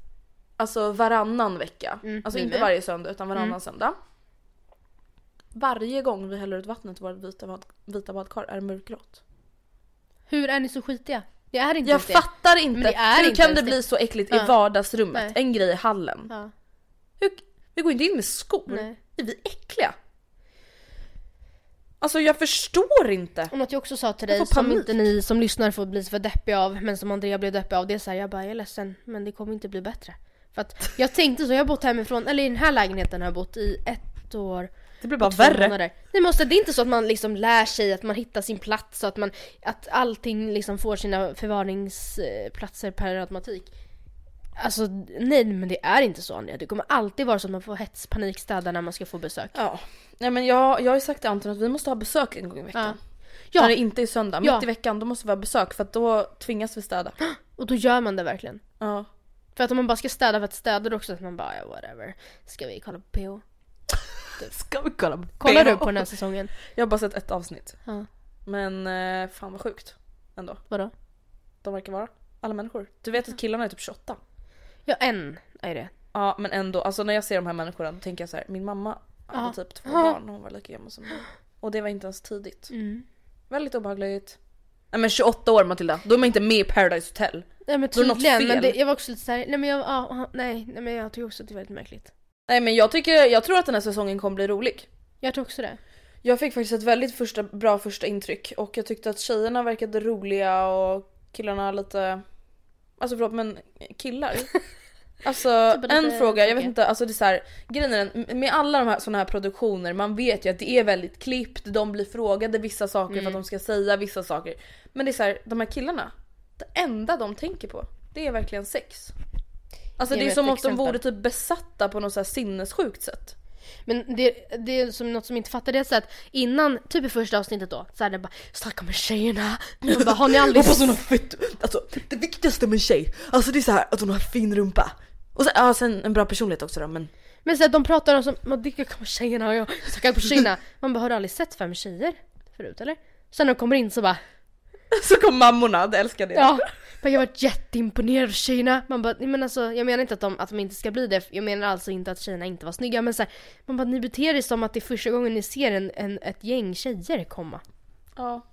Speaker 2: alltså varannan vecka.
Speaker 1: Mm,
Speaker 2: alltså
Speaker 1: vi
Speaker 2: inte
Speaker 1: med.
Speaker 2: varje söndag utan varannan
Speaker 1: Mm.
Speaker 2: söndag. Varje gång vi häller ut vattnet i vårt vita, bad, vita badkar är det mörkgrått.
Speaker 1: Hur är ni så skitiga? Jag är inte
Speaker 2: Jag
Speaker 1: ens det.
Speaker 2: fattar inte!
Speaker 1: Men det är
Speaker 2: Hur
Speaker 1: inte
Speaker 2: kan
Speaker 1: ens
Speaker 2: det
Speaker 1: det.
Speaker 2: bli så äckligt i
Speaker 1: Ja.
Speaker 2: vardagsrummet?
Speaker 1: Nej.
Speaker 2: En grej i hallen.
Speaker 1: Ja,
Speaker 2: Hur, vi går inte in med skor.
Speaker 1: nej.
Speaker 2: Är vi äckliga? Alltså jag förstår inte.
Speaker 1: Och något jag också sa till
Speaker 2: Jag
Speaker 1: dig
Speaker 2: får
Speaker 1: som
Speaker 2: panik.
Speaker 1: inte ni som lyssnar får bli för deppiga av men som Andrea blev deppig av det är såhär jag bara jag är ledsen men det kommer inte bli bättre. För att jag tänkte så, jag har bott hemifrån, eller i den här lägenheten har jag bott i ett år
Speaker 3: Det blir bara
Speaker 1: två
Speaker 3: värre.
Speaker 1: månader. Nej men alltså, det är inte så att man liksom lär sig att man hittar sin plats och att man, att allting liksom får sina förvaringsplatser per automatik. Alltså nej men det är inte så Andrea, det kommer alltid vara så att man får hetspanikstäda när man ska få besök.
Speaker 2: Ja. Nej men jag, jag har ju sagt till Anton att vi måste ha besök en gång i veckan.
Speaker 1: Ja.
Speaker 2: När det inte är söndag.
Speaker 1: Ja.
Speaker 2: Mitt i veckan då måste vi ha besök för att då tvingas vi städa.
Speaker 1: Och då gör man det verkligen.
Speaker 2: Ja.
Speaker 1: För att om man bara ska städa för att städa då också att man bara ja, whatever. Ska vi kolla på PH?
Speaker 2: Ska vi kolla på
Speaker 1: Kollar du på den här säsongen?
Speaker 2: Jag har bara sett ett avsnitt.
Speaker 1: Ja.
Speaker 2: Men eh, fan vad sjukt. Ändå.
Speaker 1: Vadå?
Speaker 2: De verkar vara alla människor. Du vet att killarna är typ 28.
Speaker 1: Ja en är det.
Speaker 2: Ja men ändå, alltså när jag ser de här människorna då tänker jag så här. min mamma hade
Speaker 1: Ja.
Speaker 2: typ två
Speaker 1: Ja.
Speaker 2: barn och hon var lika gammal som mig. Och det var inte ens tidigt.
Speaker 1: Mm.
Speaker 2: Väldigt obehagligt. Nej men 28 år Matilda, då är man inte med i Paradise Hotel.
Speaker 1: Nej men
Speaker 2: Då är det något
Speaker 1: tydligen,
Speaker 2: fel.
Speaker 1: men det, jag var också lite såhär, nej men jag, ja, ja, nej, nej men jag tycker också att det är väldigt märkligt.
Speaker 2: Nej men jag, tycker, jag tror att den här säsongen kommer bli rolig.
Speaker 1: Jag tror också det.
Speaker 2: Jag fick faktiskt ett väldigt första, bra första intryck och jag tyckte att tjejerna verkade roliga och killarna lite... Alltså förlåt men killar. Alltså
Speaker 1: Typ lite
Speaker 2: en fråga, jag vet
Speaker 1: tråkiga.
Speaker 2: inte, alltså det är så här, grejen är den, med alla de här sådana här produktioner, man vet ju att det är väldigt klippt, de blir frågade vissa saker för att de ska säga vissa saker. Men det är så här, de här killarna, det enda de tänker på, det är verkligen sex. Alltså
Speaker 1: Ge
Speaker 2: det
Speaker 1: mig
Speaker 2: är
Speaker 1: ett
Speaker 2: som om de
Speaker 1: exempel.
Speaker 2: vore typ besatta på något så här sinnessjukt sätt.
Speaker 1: Men det, det är som något som jag inte fattar det är så att innan, typ i första avsnittet då, såhär det bara “snacka med tjejerna”. Man bara “har ni aldrig...”
Speaker 3: Hoppas hon har fett, alltså det viktigaste med en tjej, alltså det är så här att hon har en fin rumpa.
Speaker 2: Och sen, ja, sen en bra personlighet också då men
Speaker 1: Men såhär de pratar om som “man dricker med tjejerna” och jag “snackar på tjejerna”. Man bara “har du aldrig sett fem tjejer förut eller?” Sen när de kommer in så bara
Speaker 2: Så kom mammorna, det älskar det.
Speaker 1: Ja, men jag var jätteimponerad av tjejerna. Man bara, nej men alltså, jag menar inte att de, att de inte ska bli det. Jag menar alltså inte att tjejerna inte var snygga. Men så här, man bara, ni beter er som att det är första gången ni ser en, en, ett gäng tjejer komma.
Speaker 2: ja.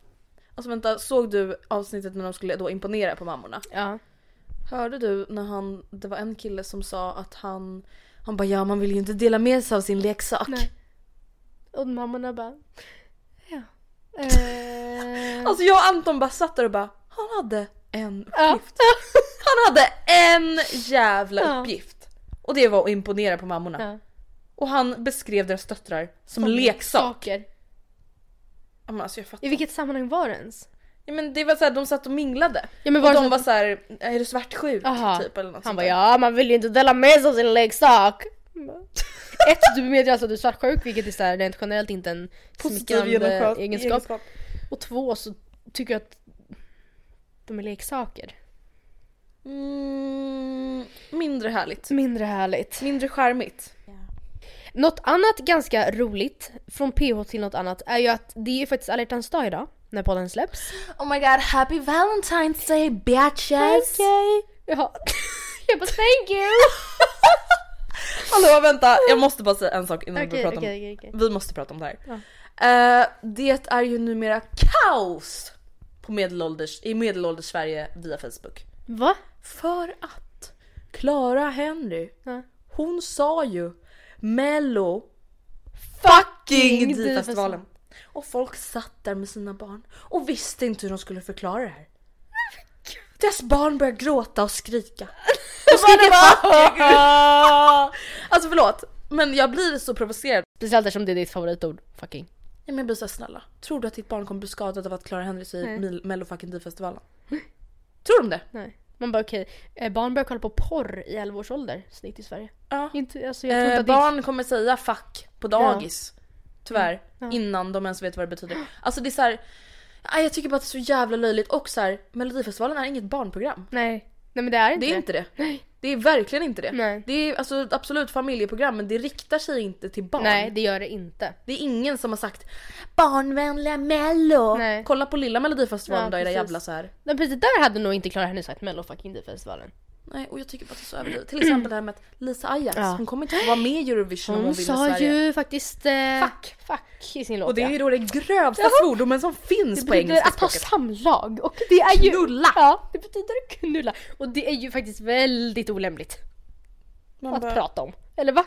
Speaker 2: Alltså vänta, såg du avsnittet när de skulle då imponera på mammorna?
Speaker 1: Ja.
Speaker 2: Hörde du när han, det var en kille som sa att han, han bara ja man vill ju inte dela med sig av sin leksak.
Speaker 1: Nej. Och mammorna bara, ja. Eh,
Speaker 2: Alltså jag och Anton bara satt där och bara, han hade en
Speaker 1: ja.
Speaker 2: uppgift. Han hade en jävla
Speaker 1: Ja.
Speaker 2: uppgift. Och det var att imponera på mammorna.
Speaker 1: Ja.
Speaker 2: Och han beskrev deras döttrar som, leksak.
Speaker 1: Saker.
Speaker 2: Ja, men alltså jag fattar.
Speaker 1: I vilket sammanhang var det ens?
Speaker 2: Ja, men det var såhär, de satt och minglade.
Speaker 1: Ja, men
Speaker 2: Och
Speaker 1: var det
Speaker 2: de
Speaker 1: så...
Speaker 2: var såhär, är du svartsjuk?
Speaker 1: Aha.
Speaker 2: Typ, eller något
Speaker 1: Han
Speaker 2: sånt
Speaker 1: bara
Speaker 2: där.
Speaker 1: ja, man vill ju inte dela med sig av sin leksak. Ett, du medger alltså att du är svartsjuk vilket är så här, rent generellt inte en
Speaker 3: Positiv
Speaker 1: smickrande
Speaker 3: egenskap.
Speaker 1: egenskap. Och två så tycker jag att de är leksaker.
Speaker 2: Mm, mindre härligt.
Speaker 1: Mindre härligt.
Speaker 2: Mindre charmigt.
Speaker 1: Något annat ganska roligt, från PH till något annat, är ju att det är ju faktiskt alla hjärtans dag idag när podden släpps.
Speaker 2: Oh my god, happy Valentine's day bitches!
Speaker 1: Ja. Jag bara thank you!
Speaker 2: Hallå vänta, jag måste bara säga en sak innan vi
Speaker 1: Okej,
Speaker 2: pratar om
Speaker 1: okej, okej, okej.
Speaker 2: Vi måste prata om det här. Eh, det är ju numera kaos på medelålders, i medelålders Sverige via Facebook.
Speaker 1: Va?
Speaker 2: För att Clara Henry,
Speaker 1: Ja.
Speaker 2: hon sa ju mello
Speaker 1: Fucking
Speaker 2: fucking Difestivalen. Och folk satt där med sina barn och visste inte hur de skulle förklara det här. Deras barn började gråta och skrika. Och skrika fucking! Alltså förlåt, men jag blir så provocerad.
Speaker 1: Speciellt eftersom det är ditt favoritord, fucking.
Speaker 2: Nej men jag blir så här, snälla. Tror du att ditt barn kommer bli skadat av att Clara Henry säger
Speaker 1: Nej.
Speaker 2: Mil- Mello fucking Di-festivalen? Tror de det?
Speaker 1: Nej. Man bara okej, eh, barn börjar kolla på porr i 11 års ålder snitt i Sverige.
Speaker 2: Ja.
Speaker 1: Inte, alltså, jag tror inte
Speaker 2: Eh,
Speaker 1: att det är...
Speaker 2: barn kommer säga fuck på dagis. Tyvärr.
Speaker 1: Mm.
Speaker 2: Innan de ens vet vad det betyder. Alltså det är så här. Aj, jag tycker bara att det är så jävla löjligt och så här, Melodifestivalen är inget barnprogram.
Speaker 1: Nej. Nej men det är inte
Speaker 2: Det är
Speaker 1: det.
Speaker 2: inte det. Det är verkligen inte det.
Speaker 1: Nej.
Speaker 2: Det är alltså ett absolut familjeprogram men det riktar sig inte till barn.
Speaker 1: Nej det gör det inte.
Speaker 2: Det är ingen som har sagt barnvänliga mello.
Speaker 1: Nej.
Speaker 2: Kolla på lilla Melodifestivalen
Speaker 1: Ja,
Speaker 2: då era
Speaker 1: precis.
Speaker 2: jävla så här.
Speaker 1: Men precis där hade nog inte Clara Henry sagt mello fucking Difestivalen.
Speaker 2: Nej och jag tycker bara att det är så överdrivet. Till exempel det här med att Lisa Ajax,
Speaker 1: Ja.
Speaker 2: hon kommer inte få vara med i Eurovision om
Speaker 1: Hon
Speaker 2: hon vinner
Speaker 1: sa
Speaker 2: Sverige.
Speaker 1: ju faktiskt eh,
Speaker 2: Fuck.
Speaker 1: fuck i sin låt
Speaker 2: Och det
Speaker 1: ja.
Speaker 2: är ju då det grövsta svordomen som finns
Speaker 1: Det
Speaker 2: på
Speaker 1: betyder
Speaker 2: engelska
Speaker 1: att ha
Speaker 2: språket.
Speaker 1: samlag och det är ju...
Speaker 2: Knulla.
Speaker 1: Ja, det betyder knulla. Och det är ju faktiskt väldigt olämpligt
Speaker 2: Man
Speaker 1: att
Speaker 2: bara,
Speaker 1: prata om. Eller va?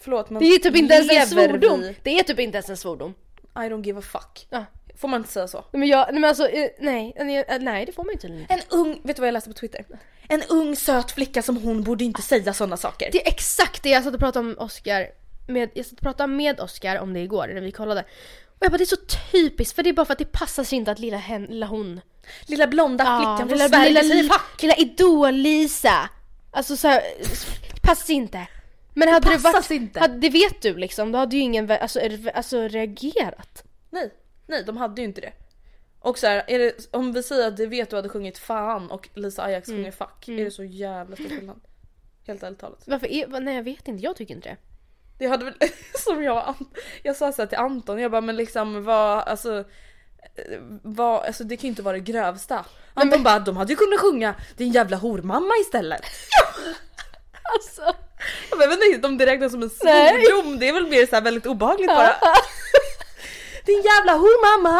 Speaker 2: förlåt men
Speaker 1: Det är typ inte ens en
Speaker 2: lever
Speaker 1: svordom.
Speaker 2: vi?
Speaker 1: Det är typ inte ens en svordom.
Speaker 2: I don't give a fuck.
Speaker 1: Ja.
Speaker 2: Får man inte säga så?
Speaker 1: Nej men jag, nej men alltså, eh, nej, nej, eh, nej det får man ju tydligen inte.
Speaker 2: En ung, vet du vad jag läste på Twitter? En ung söt flicka som hon borde inte säga sådana saker.
Speaker 1: Det är exakt det jag satt och pratade om Oscar med, jag satt och pratade med Oscar om det igår när vi kollade. Och jag bara det är så typiskt för det är bara för att det passar sig inte att lilla, hen, lilla hon
Speaker 2: Lilla blonda flickan från
Speaker 1: lilla,
Speaker 2: Sverige
Speaker 1: lilla,
Speaker 2: säger
Speaker 1: lilla,
Speaker 2: fuck.
Speaker 1: lilla Idol-Lisa. Alltså så här, det passar inte. Men hade det,
Speaker 2: passas
Speaker 1: varit,
Speaker 2: inte.
Speaker 1: Hade, det vet du liksom, då hade ju ingen vä- alltså, är- alltså, reagerat.
Speaker 2: Nej, nej de hade ju inte det. Och så här, är det, om vi säger att det vet du hade sjungit fan och Lisa Ajax sjunger fuck, är det så jävla stor skillnad? Helt ärligt talat.
Speaker 1: Varför är, vad- nej jag vet inte, jag tycker inte det.
Speaker 2: Det hade väl, som jag, jag sa så här till Anton, jag bara men liksom vad, alltså eh, vad, alltså det kan ju inte vara det grövsta. Anton bara de hade ju kunnat sjunga din jävla hormamma istället.
Speaker 1: Alltså,
Speaker 2: Jag bara, men inte om det räknas som en
Speaker 1: Nej.
Speaker 2: svordom, det är väl mer så här väldigt obehagligt bara. Din jävla hormamma!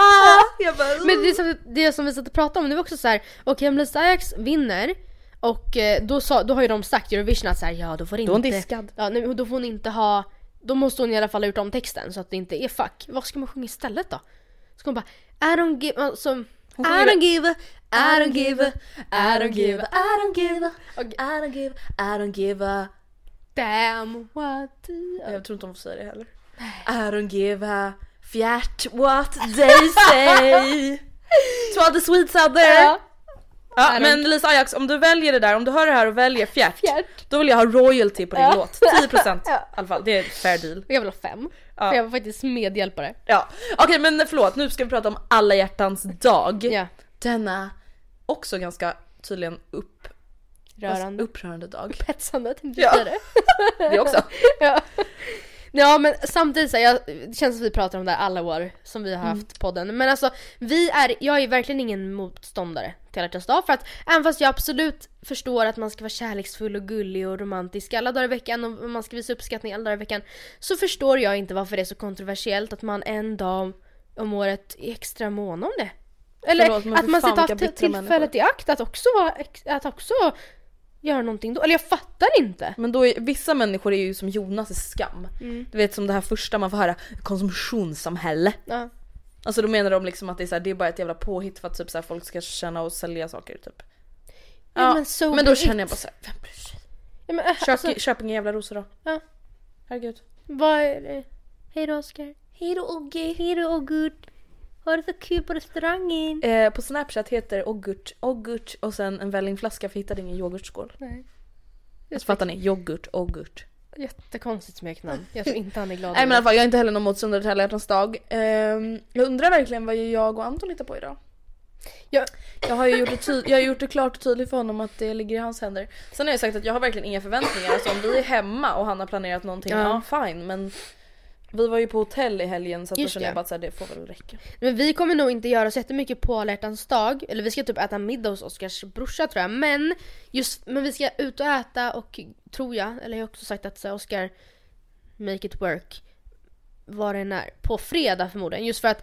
Speaker 2: Jag bara,
Speaker 1: men det, som- det som vi satt och pratade om, det var också så här, okej om Lisa Ajax vinner och eh, då, sa, då har ju de sagt i Eurovision att så här, ja då får inte...
Speaker 2: Då är hon diskad.
Speaker 1: Ja, nej, men då får hon inte ha... Då måste hon i alla fall ha gjort om texten så att det inte är fuck. Vad ska man sjunga istället då? Ska hon bara I don't give... Alltså, I
Speaker 2: sjunger-
Speaker 1: don't give a, I don't give a,
Speaker 2: I don't give, a- I don't give, a- I don't give, I don't give a...
Speaker 1: damn what... the-
Speaker 2: Jag tror inte hon får säga det heller. I don't give a fjärt what they say. To all the Swedes out there.
Speaker 1: Ja.
Speaker 2: Ja, men Lisa Ajax om du väljer det där, om du hör det här och väljer fjärt.
Speaker 1: Fjärt.
Speaker 2: Då vill jag ha royalty på din
Speaker 1: Ja.
Speaker 2: låt. 10%
Speaker 1: Ja.
Speaker 2: i alla fall, det är fair deal.
Speaker 1: Och Jag vill ha fem.
Speaker 2: Ja.
Speaker 1: För jag var faktiskt medhjälpare.
Speaker 2: Ja. Okej men förlåt, nu ska vi prata om alla hjärtans dag.
Speaker 1: Ja.
Speaker 2: Denna också ganska tydligen upp,
Speaker 1: Rörande.
Speaker 2: upprörande dag.
Speaker 1: Upphetsande tänkte
Speaker 2: Ja.
Speaker 1: jag säga det.
Speaker 2: Det också.
Speaker 1: ja. ja men samtidigt så här, jag, det känns som vi pratar om det här alla år som vi
Speaker 2: Mm.
Speaker 1: har haft podden. Men alltså vi är, jag är verkligen ingen motståndare till alla hjärtans dag för att även fast jag absolut förstår att man ska vara kärleksfull och gullig och romantisk alla dagar i veckan och man ska visa uppskattning alla dagar i veckan så förstår jag inte varför det är så kontroversiellt att man en dag om året är extra mån om det. Eller
Speaker 2: Förlåt, men för
Speaker 1: att man
Speaker 2: fan
Speaker 1: ska ta
Speaker 2: vilka
Speaker 1: till-
Speaker 2: bittra människor.
Speaker 1: tillfället i akt att också, vara, ex- att också göra någonting då. Eller jag fattar inte.
Speaker 2: Men då är, vissa människor är ju som Jonas i skam.
Speaker 1: Mm.
Speaker 2: Du vet som det här första man får höra, konsumtionssamhälle.
Speaker 1: Ja.
Speaker 2: Alltså då menar de liksom att det är, så här, det är bara ett jävla påhitt för att typ så här, folk ska tjäna och sälja saker typ.
Speaker 1: Ja, men so
Speaker 2: men då
Speaker 1: be
Speaker 2: känner jag
Speaker 1: it.
Speaker 2: bara såhär, vem bryr sig?
Speaker 1: Ja, men, äh,
Speaker 2: Köp,
Speaker 1: alltså,
Speaker 2: köp inga jävla rosor då.
Speaker 1: Ja.
Speaker 2: Herregud.
Speaker 1: vad är det? Hej då Oskar. Hej då Ogge. Hej då Ogut. Har du så kul på restaurangen?
Speaker 2: Eh, på Snapchat heter Ogurt, Ogurt och sen en vällingflaska för jag hittade ingen yoghurtskål.
Speaker 1: Nej.
Speaker 2: Jag fattar ni? Yoghurt, Ogurt.
Speaker 1: Jättekonstigt smeknamn. Jag tror inte han är glad
Speaker 2: Nej men i
Speaker 1: över
Speaker 2: alla fall jag är inte heller någon motståndare till alla hjärtans dag. Ehm, jag undrar verkligen vad jag och Anton hittar på idag. alltså-
Speaker 1: Ja.
Speaker 2: Jag har ju gjort det, tyd- jag har gjort det klart och tydligt för honom att det ligger i hans händer. Sen har jag sagt att jag har verkligen inga förväntningar. Alltså om vi är hemma och han har planerat någonting, ja,
Speaker 1: Ja.
Speaker 2: fine. Men vi var ju på hotell i helgen så att då
Speaker 1: Just
Speaker 2: kände jag
Speaker 1: det.
Speaker 2: bara att det får väl räcka.
Speaker 1: Men vi kommer nog inte göra så jättemycket på alla hjärtans dag. Eller vi ska typ äta middag hos Oskars brorsa tror jag. Men, just, men vi ska ut och äta och tror jag, eller jag har också sagt att så här, Oskar, make it work. Vad den är. På fredag förmodligen. Just för att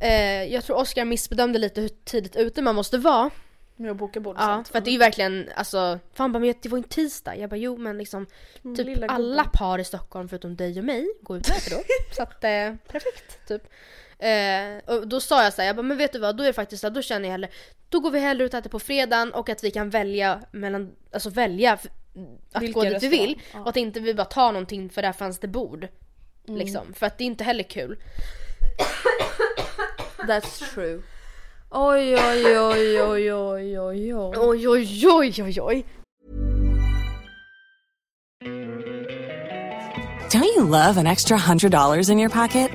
Speaker 1: eh, jag tror Oskar missbedömde lite hur tidigt ute man måste vara.
Speaker 2: Men jag bokar bord och
Speaker 1: Ja,
Speaker 2: sånt.
Speaker 1: för att det är ju verkligen, alltså, för han bara men det var ju en tisdag. Jag bara jo men liksom
Speaker 2: Mm,
Speaker 1: typ
Speaker 2: lilla
Speaker 1: alla
Speaker 2: gubben.
Speaker 1: par i Stockholm förutom dig och mig går ut och äter då. så att eh, perfekt typ. Eh, och då sa jag så här, jag bara men vet du vad då är det faktiskt så här, då känner jag hellre, då går vi hellre ut och äter på fredagen och att vi kan välja mellan, alltså välja f- att
Speaker 2: Vilken
Speaker 1: gå dit vi
Speaker 2: restaurang?
Speaker 1: vill.
Speaker 2: Ja.
Speaker 1: Och att inte vi bara tar någonting för där fanns det bord. Liksom, för att det är inte heller kul.
Speaker 2: That's true. Oj oj oj oj oj oj oj.
Speaker 1: Oj oj oj oj oj.
Speaker 4: Don't you love an extra $100 in your pocket?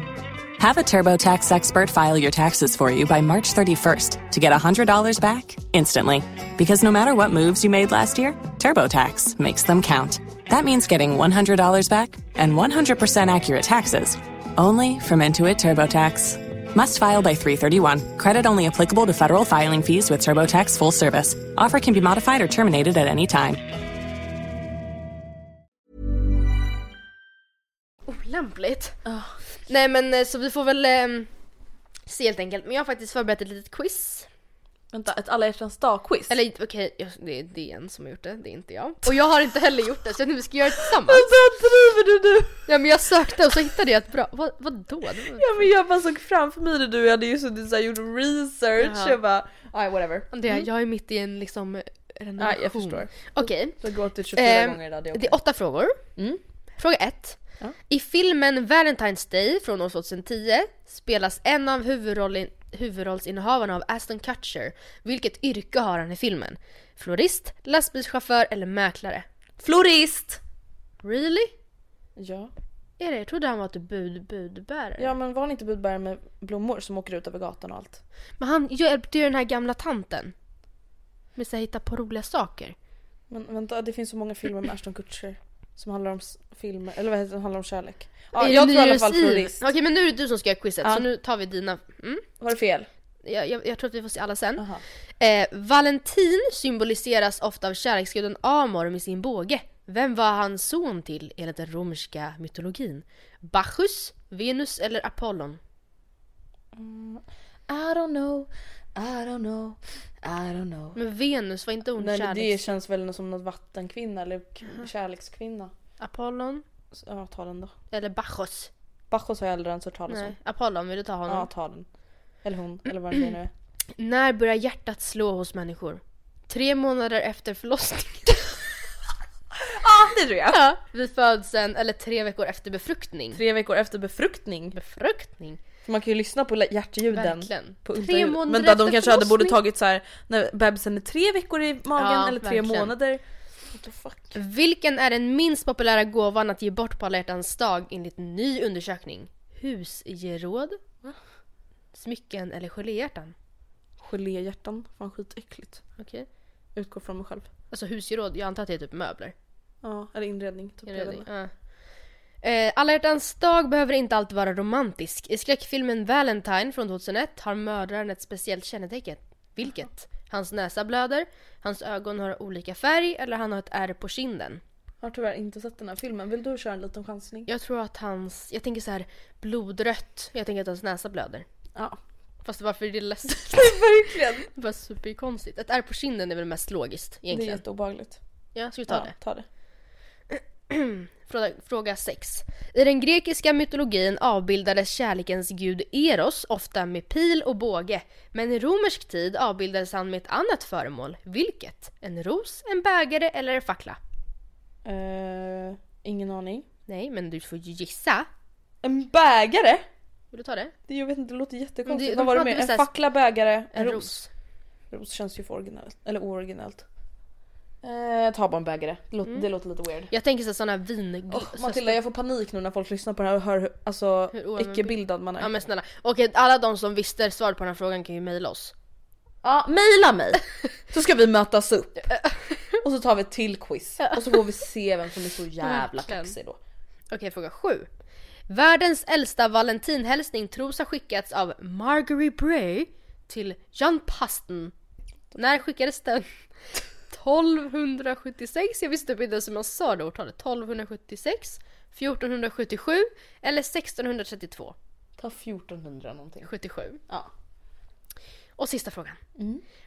Speaker 4: Have a TurboTax expert file your taxes for you by March 31st to get $100 back instantly. Because no matter what moves you made last year, TurboTax makes them count. That means getting $100 back and 100% accurate taxes only from Intuit TurboTax. Must file by 331. Credit only applicable to federal filing fees with TurboTax full service. Offer can be modified or terminated at any time.
Speaker 1: Olämpligt. Nej men eh, så vi får väl ehm, se helt enkelt. Men jag har faktiskt förberett ett litet quiz.
Speaker 2: Vänta, ett alla hjärtans dag-quiz?
Speaker 1: Eller okej, jag- det är DN som har gjort det, det är inte jag. Och jag har inte heller gjort det så jag tänkte vi ska göra det tillsammans.
Speaker 2: Alltså driver du nu?
Speaker 1: Ja men jag sökte och så hittade jag ett bra, vad, vadå? Det var-
Speaker 2: Ja men jag bara såg framför mig det du hade ju suttit såhär gjort research
Speaker 1: Jaha.
Speaker 2: jag bara, aj whatever.
Speaker 1: Det, jag är mitt i en liksom eh, renovation.
Speaker 2: Nej Mm. jag förstår.
Speaker 1: Okej,
Speaker 2: Du har gråtit 24
Speaker 1: Ehm,
Speaker 2: gånger idag det är
Speaker 1: det
Speaker 2: okej.
Speaker 1: är åtta frågor.
Speaker 2: Mm.
Speaker 1: Fråga ett.
Speaker 2: Ja.
Speaker 1: I filmen Valentine's Day från år 2010 spelas en av huvudrollen, huvudrollsinnehavarna av Aston Kutcher. Vilket yrke har han i filmen? Florist, lastbilschaufför eller mäklare?
Speaker 2: Florist!
Speaker 1: Really?
Speaker 2: Ja.
Speaker 1: Är det? Jag trodde han var typ bud, budbärare.
Speaker 2: ja men var han inte budbärare med blommor som åker ut över gatan och allt?
Speaker 1: Men han hjälpte ju den här gamla tanten. Med att hitta på roliga saker.
Speaker 2: Men vänta det finns så många filmer med Ashton Kutcher som handlar om s- filmer, eller vad heter det, handlar om kärlek. Ja,
Speaker 1: Är
Speaker 2: jag
Speaker 1: det
Speaker 2: tror i alla
Speaker 1: New
Speaker 2: fall
Speaker 1: Year's Eve?
Speaker 2: florist.
Speaker 1: Okej men nu är det du som ska göra quizet
Speaker 2: Ja.
Speaker 1: så nu tar vi dina. Mm.
Speaker 2: Var det fel?
Speaker 1: Jag, jag, jag tror att vi får se alla sen.
Speaker 2: Aha.
Speaker 1: Eh, Valentin symboliseras ofta av kärleksguden Amor med sin båge. Vem var han son till enligt den romerska mytologin? Bacchus, Venus eller Apollon?
Speaker 2: I don't know, I don't know, I don't know.
Speaker 1: Men Venus var inte hon
Speaker 2: Nej men
Speaker 1: kärleks...
Speaker 2: det känns väl som något vattenkvinna eller k- kärlekskvinna.
Speaker 1: Apollon
Speaker 2: Så, Ja ta den då.
Speaker 1: eller Bacchus?
Speaker 2: Bacchus har jag aldrig ens hört talas om.
Speaker 1: Nej, Apollon, vill du ta honom?
Speaker 2: Ja, ta den. Eller hon, eller vad det nu är.
Speaker 1: När börjar hjärtat slå hos människor? Tre månader efter förlossningen.
Speaker 2: Ja, det tror jag.
Speaker 1: Ja, vid födseln eller tre veckor efter befruktning.
Speaker 2: Tre veckor efter befruktning.
Speaker 1: Befruktning?
Speaker 2: För man kan ju lyssna på lä- hjärtljuden.
Speaker 1: Verkligen.
Speaker 2: På
Speaker 1: Tre
Speaker 2: ultraljud.
Speaker 1: månader
Speaker 2: Vänta, de
Speaker 1: efter
Speaker 2: kanske hade borde
Speaker 1: förlossning.
Speaker 2: tagit så här när bebisen är tre veckor i magen
Speaker 1: Ja,
Speaker 2: eller tre
Speaker 1: verkligen.
Speaker 2: månader. What the fuck?
Speaker 1: Vilken är den minst populära gåvan att ge bort på alla hjärtans dag enligt ny undersökning? Husgeråd? Smycken eller geléhjärtan?
Speaker 2: Geléhjärtan, fan skitäckligt.
Speaker 1: Okej.
Speaker 2: Utgår från mig själv.
Speaker 1: Alltså husgeråd, jag antar att det är typ möbler.
Speaker 2: Ja, eller inredning. Typ
Speaker 1: Är det
Speaker 2: redan.
Speaker 1: det? Ja. Eh, Alla hjärtans dag behöver inte alltid vara romantisk. I skräckfilmen Valentine från 2001 har mördaren ett speciellt kännetecken. Vilket? Hans näsa blöder, hans ögon har olika färg eller han har ett ärr på kinden.
Speaker 2: Jag har tyvärr inte sett den här filmen. Vill du köra en liten chansning?
Speaker 1: Jag tror att hans, jag tänker så här blodrött, jag tänker att hans näsa blöder.
Speaker 2: Ja.
Speaker 1: Fast varför är det läskigt?
Speaker 2: Verkligen.
Speaker 1: det var superkonstigt. Ett ärr på kinden är väl mest logiskt
Speaker 2: Det är
Speaker 1: egentligen.
Speaker 2: jätteobehagligt.
Speaker 1: Ja, ska vi ta
Speaker 2: ja,
Speaker 1: det?
Speaker 2: ta det.
Speaker 1: Fråga- Fråga 6. I den grekiska mytologin avbildades kärlekens gud Eros ofta med pil och båge. Men i romersk tid avbildades han med ett annat föremål. Vilket? En ros, en bägare eller en fackla?
Speaker 2: Eh, ingen aning.
Speaker 1: Nej, men du får ju gissa.
Speaker 2: En bägare?
Speaker 1: Vill du ta det?
Speaker 2: Det, jag vet inte, det låter jättekonstigt.
Speaker 1: Men det-
Speaker 2: Vad
Speaker 1: de
Speaker 2: var det
Speaker 1: hade
Speaker 2: mer?
Speaker 1: väl
Speaker 2: En
Speaker 1: såhär-
Speaker 2: fackla, bägare,
Speaker 1: En ros.
Speaker 2: Ros känns ju för originellt, eller ooriginellt. Eh, ta bara en bägare, det, låter-
Speaker 1: Mm.
Speaker 2: det låter lite weird.
Speaker 1: Jag tänker sådana här vin...
Speaker 2: Oh, Matilda jag får panik nu när folk lyssnar på det här och hör hur- alltså,
Speaker 1: Hur oanvänd-
Speaker 2: icke-bildad man är.
Speaker 1: Ja men snälla. Okej, alla de som visste svaret på den här frågan kan ju mejla oss.
Speaker 2: Ja, mejla mig! Så ska vi mötas upp. Och så tar vi ett till quiz. Och så får vi se vem som är så jävla
Speaker 1: Verkligen.
Speaker 2: kaxig då.
Speaker 1: Okej, fråga sju. Världens äldsta valentinhälsning tros ha skickats av Margery Bray till John Paston. När skickades den? 1276? Jag visste typ inte ens hur man sa det årtalet. 1276? 1477? Eller 1632?
Speaker 2: Ta 1400 någonting.
Speaker 1: 77.
Speaker 2: Ja.
Speaker 1: Och sista frågan.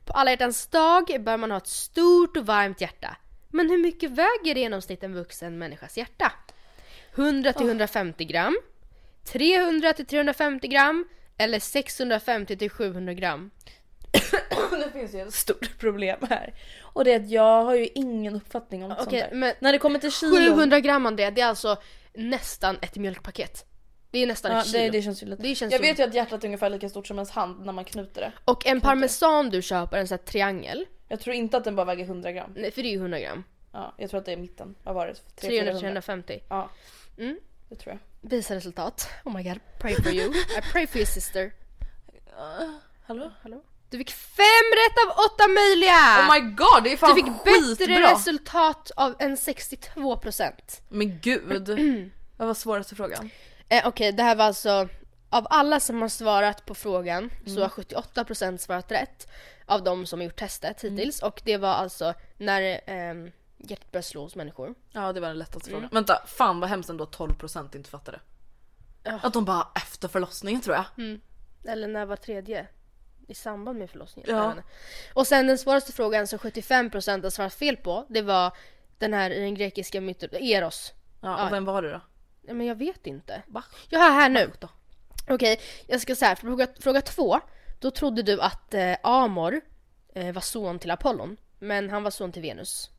Speaker 1: På alla hjärtans dag bör man ha ett stort och varmt hjärta. Men hur mycket väger i genomsnitt en vuxen människas hjärta? 100 till 150 gram, 300 till 350 gram eller 650 till 700 gram.
Speaker 2: Det finns ju ett stort problem här. Och det är att jag har ju ingen uppfattning om sånt
Speaker 1: Okej,
Speaker 2: där.
Speaker 1: men-
Speaker 2: När det kommer till kilo.
Speaker 1: 700 gram Andrea, det är alltså nästan ett mjölkpaket. Det är nästan
Speaker 2: Ja,
Speaker 1: ett kilo.
Speaker 2: det, det känns ju lite.
Speaker 1: Det känns
Speaker 2: jag
Speaker 1: ju-
Speaker 2: vet ju att hjärtat är ungefär lika stort som ens hand när man knuter det.
Speaker 1: Och en parmesan du köper, en sån här triangel,
Speaker 2: Jag tror inte att den bara väger 100 gram.
Speaker 1: nej, för det är ju 100 gram.
Speaker 2: Ja, jag tror att det är mitten. Vad var det? 300, 400.
Speaker 1: 300-350.
Speaker 2: Ja,
Speaker 1: Mm.
Speaker 2: det tror jag.
Speaker 1: Visa resultat. Oh my god, pray for you. I pray for your sister.
Speaker 2: Hallå?
Speaker 1: Du fick fem rätt av åtta möjliga!
Speaker 2: Oh my god, det är fan
Speaker 1: Äh. du fick bättre
Speaker 2: skitbra!
Speaker 1: resultat av en 62%.
Speaker 2: Men gud. Vad var svåraste frågan?
Speaker 1: Eh, Okej, det här var alltså av alla som har svarat på frågan
Speaker 2: Mm.
Speaker 1: så har 78% svarat rätt av de som har gjort testet
Speaker 2: Mm.
Speaker 1: hittills och det var alltså när eh, hjärtat börjar slå hos människor.
Speaker 2: Ja det var den lättaste
Speaker 1: Mm.
Speaker 2: frågan. Vänta, fan vad hemskt ändå att 12% inte fattade. Att de bara efter förlossningen tror jag.
Speaker 1: Eller när var tredje? I samband med förlossningen.
Speaker 2: Ja.
Speaker 1: Jag vet inte. Och sen den svåraste frågan som 75% har svarat fel på det var den här i den grekiska myten, Eros.
Speaker 2: Ja, och vem var det då?
Speaker 1: Ja, Men jag vet inte.
Speaker 2: Va?
Speaker 1: Jag har här nu.
Speaker 2: Då.
Speaker 1: Okej, jag ska säga för fråga, fråga två. Då trodde du att eh, Amor eh, var son till Apollon. Men han var son till Venus.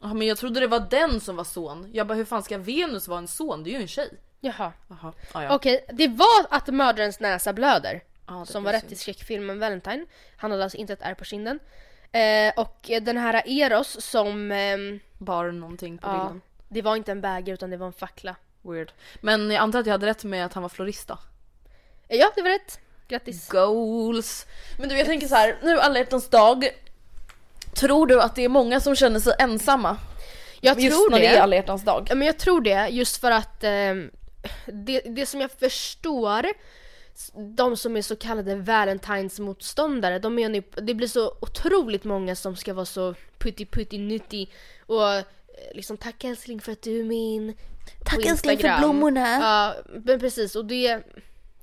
Speaker 2: Ja, men jag trodde det var den som var son. Jag bara hur fan ska Venus vara en son? Det är ju en tjej.
Speaker 1: Jaha.
Speaker 2: Jaha, ja, ja.
Speaker 1: Okej, det var att mördarens näsa blöder.
Speaker 2: Ja, det
Speaker 1: som
Speaker 2: var
Speaker 1: var rätt
Speaker 2: synd.
Speaker 1: i skräckfilmen Valentine. Han hade alltså inte ett ärr på kinden. Eh, och eh, den här Eros som... ehm,
Speaker 2: Bar någonting på
Speaker 1: ja,
Speaker 2: bilden.
Speaker 1: det var inte en bägare utan det var en fackla.
Speaker 2: Weird. Men jag antar att jag hade rätt med att han var florist då.
Speaker 1: Eh, ja, det var rätt. Grattis.
Speaker 2: Goals! Men du jag tänker så här, nu alla hjärtans dag. Tror du att det är många som känner sig ensamma?
Speaker 1: Jag
Speaker 2: Just
Speaker 1: tror
Speaker 2: när
Speaker 1: det.
Speaker 2: det är alla hjärtans dag.
Speaker 1: Ja, men jag tror det, just för att ehm, det, det som jag förstår, s- de som är så kallade Valentines-motståndare, de är, ju- det blir så otroligt många som ska vara så putty putty nutty och eh, liksom tack älskling för att du är min. Tack
Speaker 3: älskling för blommorna.
Speaker 1: Ja, men precis och det,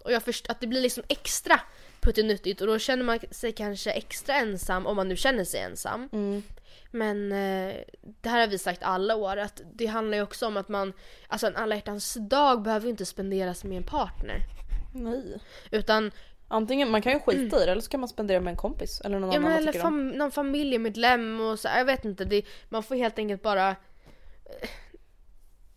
Speaker 1: och jag förstår att det blir liksom extra puttinuttigt och då känner man sig kanske extra ensam om man nu känner sig ensam.
Speaker 3: Mm.
Speaker 1: Men eh, det här har vi sagt alla år att det handlar ju också om att man, alltså en alla hjärtans dag behöver ju inte spenderas med en partner.
Speaker 2: Nej.
Speaker 1: Utan,
Speaker 2: Antingen, man kan ju skita i det eller så kan man spendera med en kompis eller någon
Speaker 1: ja, men
Speaker 2: annan man
Speaker 1: eller
Speaker 2: tycker om.
Speaker 1: fam- någon familjemedlem och så, jag vet inte, det, man får helt enkelt bara eh,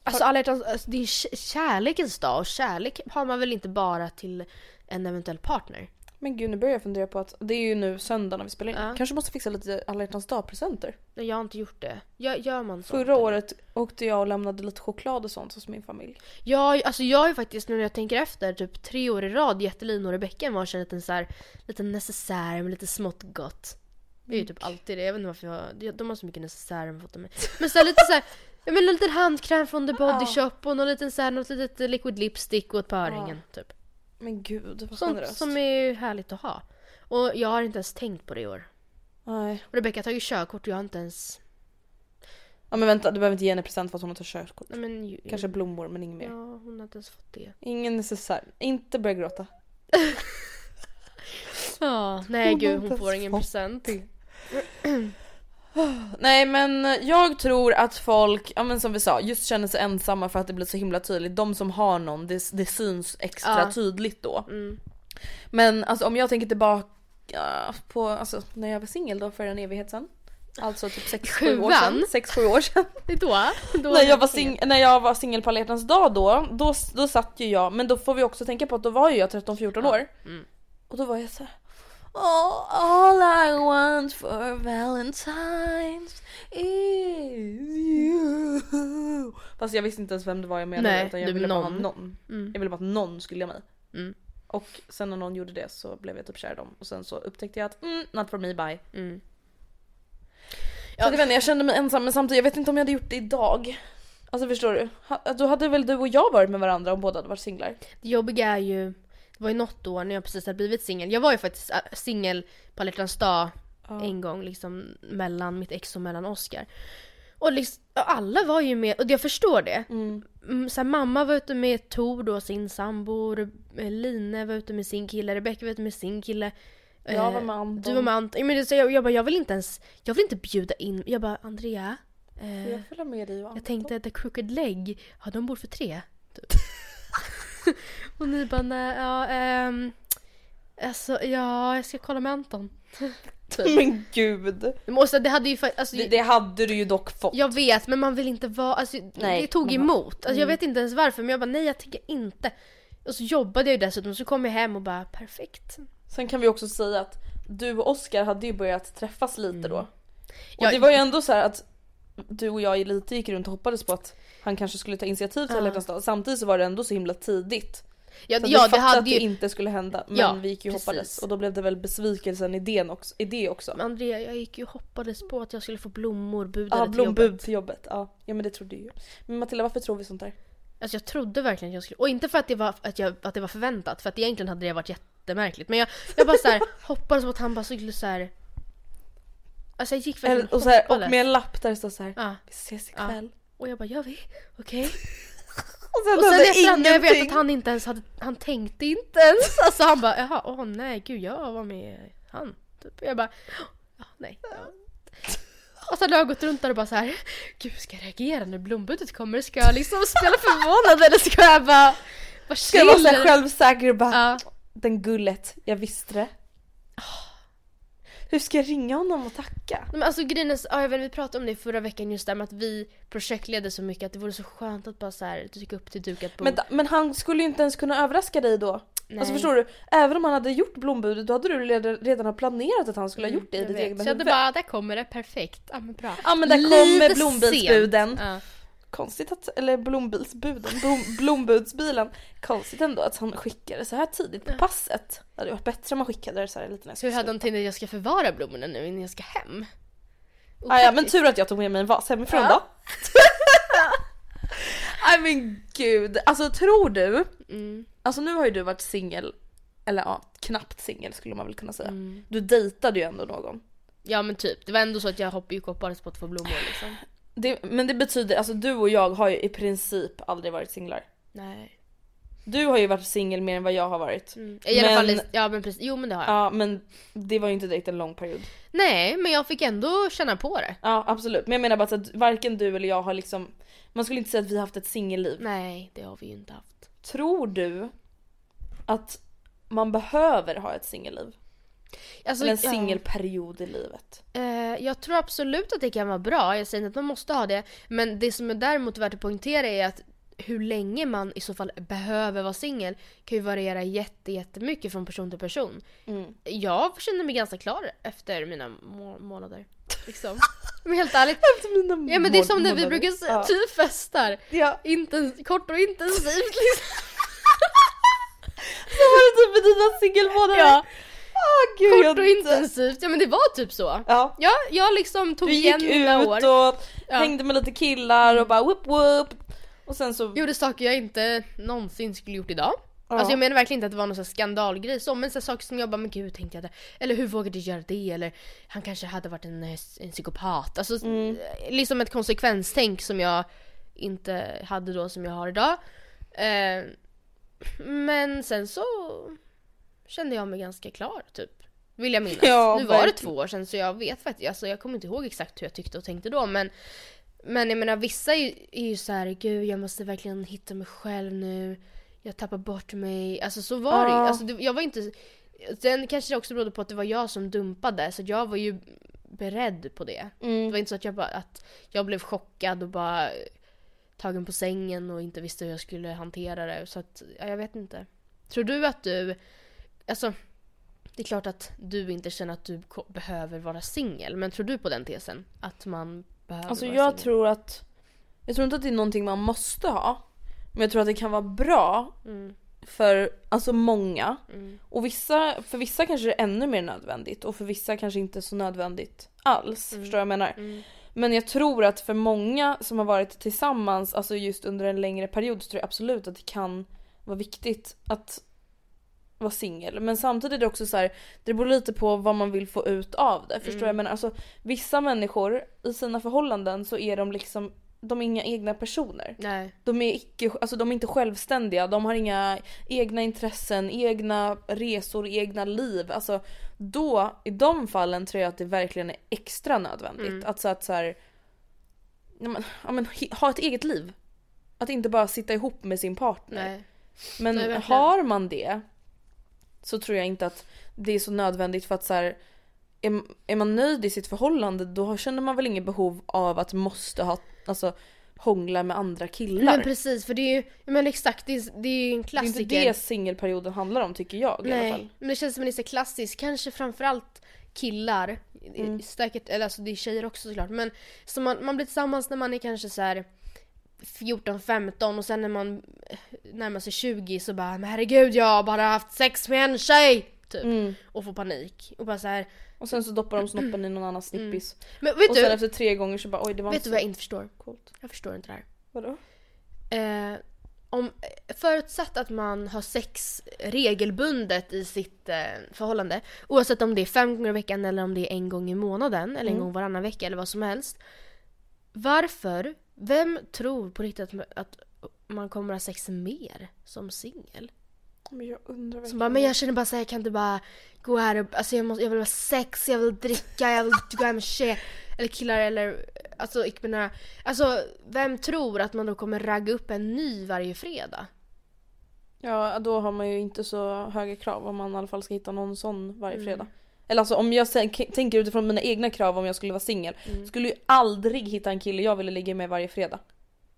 Speaker 1: Alltså alla hjärtans, alltså, det är k- kärlekens dag och kärlek har man väl inte bara till en eventuell partner?
Speaker 2: Men gud nu börjar jag fundera på att det är ju nu söndag när vi spelar in.
Speaker 1: Ja.
Speaker 2: Kanske måste fixa lite alla hjärtans dag-presenter.
Speaker 1: Nej, Jag har inte gjort det. Gör, gör man sånt?
Speaker 2: Förra året åkte jag och lämnade lite choklad och sånt hos min familj.
Speaker 1: Ja, alltså jag har ju faktiskt nu när jag tänker efter typ tre år i rad gett linor i bäcken varsin liten så här, liten necessär med lite smått gott. Det är ju typ alltid det, jag vet inte varför jag, de har så mycket necessärer med fått av mig. Men så här, lite så här, ja men en liten handkräm från The Body Shop och någon liten så här, något litet liquid lipstick och ett par örhängen typ.
Speaker 2: Men gud vad
Speaker 1: Sånt
Speaker 2: generöst.
Speaker 1: som är ju härligt att ha. Och jag har inte ens tänkt på det i år.
Speaker 2: Nej.
Speaker 1: Och Rebecca har tagit körkort och jag har inte ens,
Speaker 2: Ja men vänta du behöver inte ge henne present för att hon har tagit körkort.
Speaker 1: nej men ju,
Speaker 2: Kanske blommor men inget mer.
Speaker 1: Ja, hon har inte ens fått det.
Speaker 2: Ingen necessär. Inte börja gråta.
Speaker 1: Ja, nej gud hon får ingen present.
Speaker 2: Nej men jag tror att folk, ja men som vi sa, just känner sig ensamma för att det blir så himla tydligt. De som har någon, det, det syns extra
Speaker 1: Ja.
Speaker 2: tydligt då.
Speaker 1: Mm.
Speaker 2: Men alltså om jag tänker tillbaka på alltså, när jag var singel då för en evighet sedan. Alltså typ 6-7 år
Speaker 1: Sjuan?
Speaker 2: sedan. 6-7 år sedan.
Speaker 1: Det är då? då
Speaker 2: när, jag var
Speaker 1: singel.
Speaker 2: sing- när jag var singel på alla hjärtans dag då, då, då satt ju jag, men då får vi också tänka på att då var ju jag 13-14 år.
Speaker 1: Mm.
Speaker 2: Och då var jag så här. Oh, all I want for Valentine's is you. Fast jag visste inte ens vem det var jag menade
Speaker 1: Nej,
Speaker 2: utan jag
Speaker 1: du,
Speaker 2: ville bara ha
Speaker 1: någon.
Speaker 2: någon. Jag ville bara att någon skulle göra mig.
Speaker 1: Mm.
Speaker 2: Och sen när någon gjorde det så blev jag typ kär i dem och sen så upptäckte jag att mm, not for me, bye.
Speaker 1: Mm.
Speaker 2: Ja. Så jag, vet inte, jag kände mig ensam men samtidigt, jag vet inte om jag hade gjort det idag. Alltså förstår du? Ha, då hade väl du och jag varit med varandra om båda hade varit singlar?
Speaker 1: Det jobbiga är ju, det var ju något år när jag precis hade blivit singel. Jag var ju faktiskt äh, singel på alla hjärtans dag en gång liksom mellan mitt ex och mellan Oscar. Och liksom, alla var ju med, och jag förstår det. Mm. Så här, mamma var ute med Tor då, sin sambo, Re- eh, Line var ute med sin kille, Rebecca var ute med sin kille.
Speaker 2: Jag var
Speaker 1: Eh,
Speaker 2: med Anton.
Speaker 1: Du var med Anton. Ja, men det- så Jag, jag bara, jag vill inte ens, jag vill inte bjuda in, jag bara Andrea. eh,
Speaker 2: Jag följer med dig och Anton.
Speaker 1: jag tänkte att The Crooked Leg, ja de bor för tre. Typ. och ni bara nej, ja ehm, Alltså ja, jag ska kolla med Anton.
Speaker 2: Men typ- gud!
Speaker 1: Men också, det hade ju fa- alltså,
Speaker 2: Det, det hade du ju dock fått.
Speaker 1: Jag vet men man vill inte vara, alltså
Speaker 2: Nej,
Speaker 1: det tog
Speaker 2: man bara- Mm.
Speaker 1: emot. Alltså, Jag vet inte ens varför men jag bara nej jag tänker inte. Och så jobbade jag ju dessutom så kom jag hem och bara perfekt.
Speaker 2: Sen kan vi också säga att du och Oscar hade ju börjat träffas lite då. Och
Speaker 1: Mm. Ja,
Speaker 2: det var ju ändå så här att du och jag lite gick runt och hoppades på att han kanske skulle ta initiativ till
Speaker 1: Ja.
Speaker 2: alla hjärtans dag. Samtidigt så var det ändå så himla tidigt.
Speaker 1: Ja,
Speaker 2: Så att vi
Speaker 1: ja det
Speaker 2: fattade att det
Speaker 1: hade ju,
Speaker 2: inte skulle hända men
Speaker 1: Ja,
Speaker 2: vi gick ju och hoppades.
Speaker 1: precis.
Speaker 2: Och då blev det väl besvikelsen i, den också, i det också.
Speaker 1: Men Andrea jag gick ju och hoppades på att jag skulle få blommor budade
Speaker 2: Ja,
Speaker 1: till jobbet.
Speaker 2: blombud till jobbet. Ja. ja, men det trodde ju. Men Matilda, varför tror vi sånt där?
Speaker 1: Alltså jag trodde verkligen att jag skulle, och inte för att det var, att jag, att det var förväntat för att egentligen hade det varit jättemärkligt men jag, jag bara såhär hoppades på att han bara skulle såhär Alltså jag gick verkligen
Speaker 2: Eller, och, så här, och
Speaker 1: hoppades.
Speaker 2: med en lapp där det står så här.
Speaker 1: Ja,
Speaker 2: Vi ses
Speaker 1: Ja.
Speaker 2: ikväll.
Speaker 1: och jag bara gör vi? Okej?
Speaker 2: Och sen,
Speaker 1: Och sen
Speaker 2: hände
Speaker 1: efterhand när jag vet
Speaker 2: ingenting.
Speaker 1: att han inte ens hade, han tänkte inte ens Alltså han bara jaha, åh nej gud jag var med han typ. Och jag bara ja, nej ja. Och sen har jag gått runt där och bara så här. Gud ska jag reagera när blombudet kommer? Ska jag liksom spela förvånad eller ska jag bara vara
Speaker 2: Ska jag vara så här
Speaker 1: chill?
Speaker 2: självsäker och bara
Speaker 1: Ja.
Speaker 2: Den gullet, jag visste det. Hur ska jag ringa honom och tacka?
Speaker 1: Nej, Men alltså grejen är, så- ja, jag vet, vi pratade om det förra veckan just där med att vi projektledde så mycket att det vore så skönt att bara så här dyka upp till dukat bord.
Speaker 2: Men, men han skulle ju inte ens kunna överraska dig då.
Speaker 1: Nej.
Speaker 2: Alltså förstår du? Även om han hade gjort blombudet då hade du redan, redan ha planerat att han skulle ha gjort det i
Speaker 1: Mm, Jag
Speaker 2: ditt
Speaker 1: vet.
Speaker 2: egna
Speaker 1: Så jag hade
Speaker 2: huvud.
Speaker 1: bara, där kommer det, perfekt. Ja men bra.
Speaker 2: Ja men där
Speaker 1: Lite
Speaker 2: kommer blombilsbuden.
Speaker 1: sent. Ja.
Speaker 2: Konstigt att, eller blombilsbuden, blom, blombudsbilen. Konstigt ändå att han skickade så här tidigt på passet. Det hade varit bättre om han skickade det så här lite när jag
Speaker 1: Så hur
Speaker 2: skulle
Speaker 1: hade han tänkt att jag ska förvara blommorna nu innan jag ska hem?
Speaker 2: sluta. ah, ja men tur att jag tog med mig en vas hemifrån
Speaker 1: Ja.
Speaker 2: då. Nej men gud, alltså tror du?
Speaker 1: Mm.
Speaker 2: Alltså nu har ju du varit singel, eller ja knappt singel skulle man väl kunna säga. Du dejtade ju ändå någon.
Speaker 1: Ja men typ, det var ändå så att jag hoppade, gick och hoppades på att få blommor liksom.
Speaker 2: Det, men det betyder, alltså du och jag har ju i princip aldrig varit singlar.
Speaker 1: Nej.
Speaker 2: Du har ju varit singel mer än vad jag har varit.
Speaker 1: Mm. I alla
Speaker 2: Men-
Speaker 1: fall, ja men precis, jo men det har jag.
Speaker 2: Ja men det var ju inte direkt en lång period.
Speaker 1: Nej men jag fick ändå känna på det.
Speaker 2: Ja absolut, men jag menar bara så att varken du eller jag har liksom Man skulle inte säga att vi har haft ett singelliv.
Speaker 1: Nej, det har vi ju inte haft.
Speaker 2: Tror du att man behöver ha ett singelliv?
Speaker 1: Alltså,
Speaker 2: Eller en
Speaker 1: ja.
Speaker 2: singelperiod i livet?
Speaker 1: Eh, jag tror absolut att det kan vara bra, jag säger inte att man måste ha det. Men det som är däremot värt att poängtera är att hur länge man i så fall behöver vara singel kan ju variera jätte, jättemycket från person till person.
Speaker 2: Mm.
Speaker 1: Jag känner mig ganska klar efter mina må- månader. Liksom. Men helt ärligt. Ja men det är som när vi brukar säga,
Speaker 2: Ja.
Speaker 1: typ festar.
Speaker 2: Ja.
Speaker 1: Intens- kort och intensivt liksom.
Speaker 2: Så var det typ med dina singelmånader!
Speaker 1: Ja,
Speaker 2: Ah, gud, jag-
Speaker 1: kort och intensivt. Ja men det var typ så.
Speaker 2: Ja.
Speaker 1: Ja, jag liksom tog
Speaker 2: Du
Speaker 1: igen
Speaker 2: gick
Speaker 1: mina
Speaker 2: ut
Speaker 1: år.
Speaker 2: och
Speaker 1: Ja.
Speaker 2: hängde med lite killar och bara whoop whoop Och sen så...
Speaker 1: gjorde saker jag inte någonsin skulle gjort idag.
Speaker 2: Ja.
Speaker 1: Alltså jag menar verkligen inte att det var någon sån här skandalgrej så, men så här saker som jag bara men gud hur tänkte jag det? Eller hur vågade jag göra det? Eller han kanske hade varit en, eh, s- en psykopat. Alltså
Speaker 2: Mm.
Speaker 1: eh, liksom ett konsekvenstänk som jag inte hade då som jag har idag. Eh, men sen så kände jag mig ganska klar typ. Vill jag minnas.
Speaker 2: Ja,
Speaker 1: nu var det
Speaker 2: verkligen.
Speaker 1: två år sedan så jag vet faktiskt, alltså jag kommer inte ihåg exakt hur jag tyckte och tänkte då men men jag menar vissa är ju, är ju så här, gud jag måste verkligen hitta mig själv nu. Jag tappar bort mig. Alltså så var det ju.
Speaker 2: Ja.
Speaker 1: Alltså, det, jag var inte... Sen kanske det också berodde på att det var jag som dumpade så att jag var ju beredd på det. Det var inte så att jag, bara, att jag blev chockad och bara eh, tagen på sängen och inte visste hur jag skulle hantera det. Så att, ja, jag vet inte. Tror du att du, alltså det är klart att du inte känner att du ko- behöver vara singel, men tror du på den tesen? Att man behöver
Speaker 2: Alltså
Speaker 1: vara
Speaker 2: jag
Speaker 1: singel?
Speaker 2: tror att Jag tror inte att det är någonting man måste ha Men jag tror att det kan vara bra
Speaker 1: Mm.
Speaker 2: för alltså många
Speaker 1: Mm.
Speaker 2: Och vissa, för vissa kanske det är ännu mer nödvändigt och för vissa kanske inte så nödvändigt alls. Förstår du vad jag menar?
Speaker 1: Mm.
Speaker 2: Men jag tror att för många som har varit tillsammans, alltså just under en längre period så tror jag absolut att det kan vara viktigt att vara singel. Men samtidigt är det också så här, det beror lite på vad man vill få ut av det. Förstår du
Speaker 1: Mm.
Speaker 2: vad jag menar? Alltså vissa människor i sina förhållanden så är de liksom, de är inga egna personer.
Speaker 1: Nej.
Speaker 2: De är, icke, alltså de är inte självständiga, de har inga egna intressen, egna resor, egna liv. Alltså då, i de fallen tror jag att det verkligen är extra nödvändigt.
Speaker 1: Mm.
Speaker 2: Att, så att så här, ja, men, ja, men, he- ha ett eget liv. Att inte bara sitta ihop med sin partner.
Speaker 1: Nej.
Speaker 2: Men
Speaker 1: Nej, verkligen.
Speaker 2: har man det så tror jag inte att det är så nödvändigt för att så här, är, är man nöjd i sitt förhållande då känner man väl inget behov av att måste ha, alltså hångla med andra killar.
Speaker 1: Men precis, för det är ju, ja, men exakt, det är, det är ju en
Speaker 2: Det är
Speaker 1: klassiker.
Speaker 2: inte det singelperioden handlar om tycker jag i alla fall.
Speaker 1: Nej, men det känns som en så klassisk, kanske framförallt killar, mm. säkert, eller alltså det är tjejer också såklart, men så man, man blir tillsammans när man är kanske så här 14-15 och sen när man eh, närmar sig 20 så bara men herregud jag har bara haft sex med en tjej! Typ.
Speaker 2: Mm.
Speaker 1: Och får panik. Och bara så här.
Speaker 2: Och sen så doppar de snoppen i någon annans nippis.
Speaker 1: Men Mm. vet
Speaker 2: Och
Speaker 1: du,
Speaker 2: sen efter tre gånger så bara oj det var
Speaker 1: vet
Speaker 2: inte
Speaker 1: du
Speaker 2: så
Speaker 1: vad jag inte förstår?
Speaker 2: coolt.
Speaker 1: Jag förstår inte det här.
Speaker 2: Vadå?
Speaker 1: Eh, om, förutsatt att man har sex regelbundet i sitt eh, förhållande, oavsett om det är fem gånger i veckan eller om det är en gång i månaden eller en gång varannan vecka eller vad som helst. Varför? Vem tror på riktigt att, att man kommer ha sex mer som singel?
Speaker 2: Men jag undrar
Speaker 1: Som bara, men jag känner bara såhär, jag kan inte bara gå här och, alltså jag, måste, jag vill ha sex, jag vill dricka, jag vill gå hem med tjejer. Eller killar eller, alltså ik menar, alltså vem tror att man då kommer ragga upp en ny varje fredag?
Speaker 2: Ja då har man ju inte så höga krav om man i alla fall ska hitta någon sån
Speaker 1: Mm.
Speaker 2: varje fredag. Eller alltså om jag sen- k- tänker utifrån mina egna krav om jag skulle vara singel.
Speaker 1: Mm.
Speaker 2: Skulle ju aldrig hitta en kille jag ville ligga med varje fredag.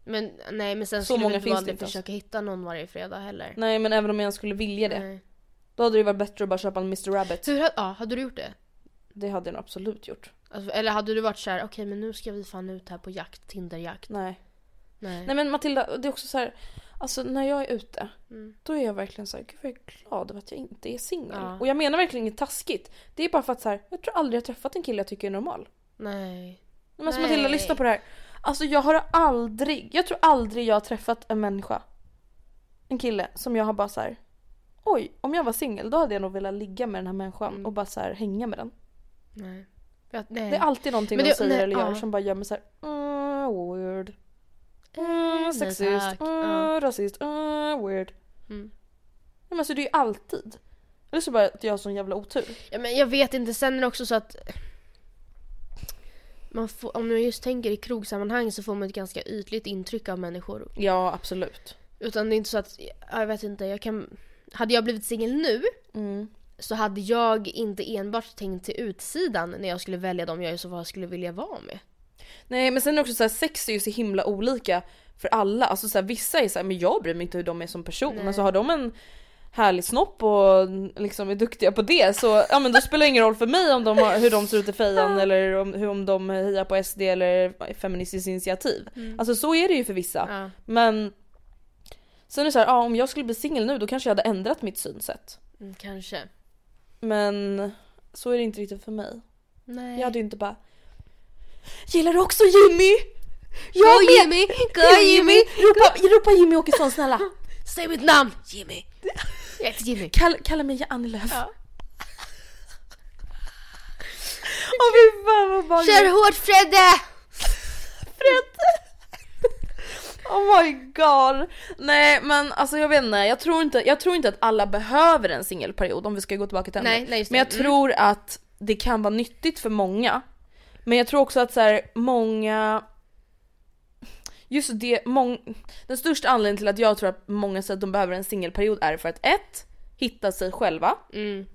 Speaker 1: Men nej men
Speaker 2: Så
Speaker 1: sen skulle
Speaker 2: många
Speaker 1: vi inte
Speaker 2: finns det
Speaker 1: aldrig
Speaker 2: inte ens.
Speaker 1: försöka hitta någon varje fredag heller.
Speaker 2: Nej men även om jag skulle vilja det.
Speaker 1: Nej.
Speaker 2: Då hade det varit bättre att bara köpa en Mr Rabbit.
Speaker 1: Hur, ha- ja, hade du gjort det?
Speaker 2: Det hade jag nog absolut gjort.
Speaker 1: Alltså, eller hade du varit såhär, okej men nu ska vi fan ut här på jakt, Tinderjakt.
Speaker 2: Nej.
Speaker 1: Nej.
Speaker 2: Nej men Matilda, det är också så här, alltså när jag är ute,
Speaker 1: Mm.
Speaker 2: då är jag verkligen så här, gud vad jag är glad över att jag inte är singel.
Speaker 1: Ja.
Speaker 2: Och jag menar verkligen inget taskigt. Det är bara för att så här, jag tror aldrig jag träffat en kille jag tycker är normal.
Speaker 1: nej.
Speaker 2: Men alltså
Speaker 1: Nej.
Speaker 2: Matilda, lyssna på det här. Alltså jag har aldrig, jag tror aldrig jag har träffat en människa, en kille, som jag har bara så här. oj, om jag var singel då hade jag nog velat ligga med den här människan
Speaker 1: Mm.
Speaker 2: och bara så här hänga med den.
Speaker 1: Nej. Jag, nej.
Speaker 2: Det är alltid någonting
Speaker 1: Eh. Men
Speaker 2: de
Speaker 1: det-
Speaker 2: säger
Speaker 1: nej,
Speaker 2: eller gör
Speaker 1: ja.
Speaker 2: som bara gör mig så här. Mm, weird. Mm,
Speaker 1: nej,
Speaker 2: sexist,
Speaker 1: tack.
Speaker 2: mm,
Speaker 1: Ja.
Speaker 2: rasist, mm, weird.
Speaker 1: Mm.
Speaker 2: Nej, men alltså det är ju alltid. Eller så bara att jag har sån jävla otur.
Speaker 1: Ja, men jag vet inte, sen är det också så att man får, om jag just tänker i krogsammanhang så får man ett ganska ytligt intryck av människor.
Speaker 2: Ja absolut.
Speaker 1: Utan det är inte så att, ja, jag vet inte, jag kan... Hade jag blivit singel nu
Speaker 2: Mm.
Speaker 1: så hade jag inte enbart tänkt till utsidan när jag skulle välja dem jag i så fall skulle vilja vara med.
Speaker 2: Nej men sen är det också så här, sex är ju så himla olika för alla. Alltså så här, vissa är så här, men jag bryr mig inte hur de är som person. Alltså har de en härlig snopp och liksom är duktiga på det så ja men då spelar det ingen roll för mig om de har, hur de ser ut i fejan eller om, hur, om de hejar på SD eller Feministiskt initiativ. Alltså så är det ju för vissa.
Speaker 1: Mm. Ja.
Speaker 2: Men sen är det så här, ja, om jag skulle bli singel nu då kanske jag hade ändrat mitt synsätt.
Speaker 1: Mm, kanske.
Speaker 2: Men så är det inte riktigt för mig.
Speaker 1: Nej.
Speaker 2: Jag hade ju inte bara Gillar du också Jimmy? Jag
Speaker 1: Gå Jimmy! Gå Jimmy!
Speaker 2: Ropa, ropa Jimmy Åkesson snälla!
Speaker 1: Säg mitt namn! Jimmy! Jag heter Jimmy.
Speaker 2: Kall, kalla mig Annie Lööf. Ja. Åh fy fan vad barn...
Speaker 1: Kör hårt Fredde!
Speaker 2: Oh my god! Nej men alltså jag vet inte, jag tror inte, jag tror inte att alla behöver en singelperiod om vi ska gå tillbaka till ämnet.
Speaker 1: Nej, nej, just det.
Speaker 2: men jag
Speaker 1: Mm.
Speaker 2: tror att det kan vara nyttigt för många. Men jag tror också att så här, många... Just det, mång... den största anledningen till att jag tror att många säger att de behöver en singelperiod är för att ett, Hitta sig själva.
Speaker 1: Mm.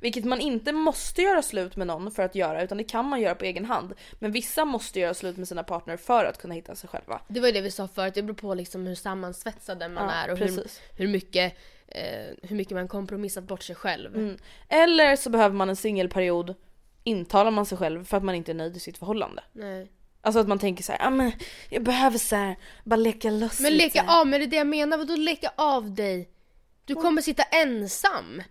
Speaker 2: Vilket man inte måste göra slut med någon för att göra utan det kan man göra på egen hand. Men vissa måste göra slut med sina partner för att kunna hitta sig själva.
Speaker 1: Det var ju det vi sa förut, det beror på liksom hur sammansvetsade man
Speaker 2: Ja,
Speaker 1: är och hur,
Speaker 2: precis.
Speaker 1: hur, mycket, eh, hur mycket man kompromissat bort sig själv.
Speaker 2: Mm. Eller så behöver man en singelperiod intalar man sig själv för att man inte är nöjd i sitt förhållande.
Speaker 1: Nej.
Speaker 2: Alltså att man tänker så här, ah, men jag behöver så här, bara leka loss
Speaker 1: Men leka
Speaker 2: lite.
Speaker 1: av, men det är det jag menar, vadå leka av dig? Du
Speaker 2: Mm.
Speaker 1: kommer sitta ensam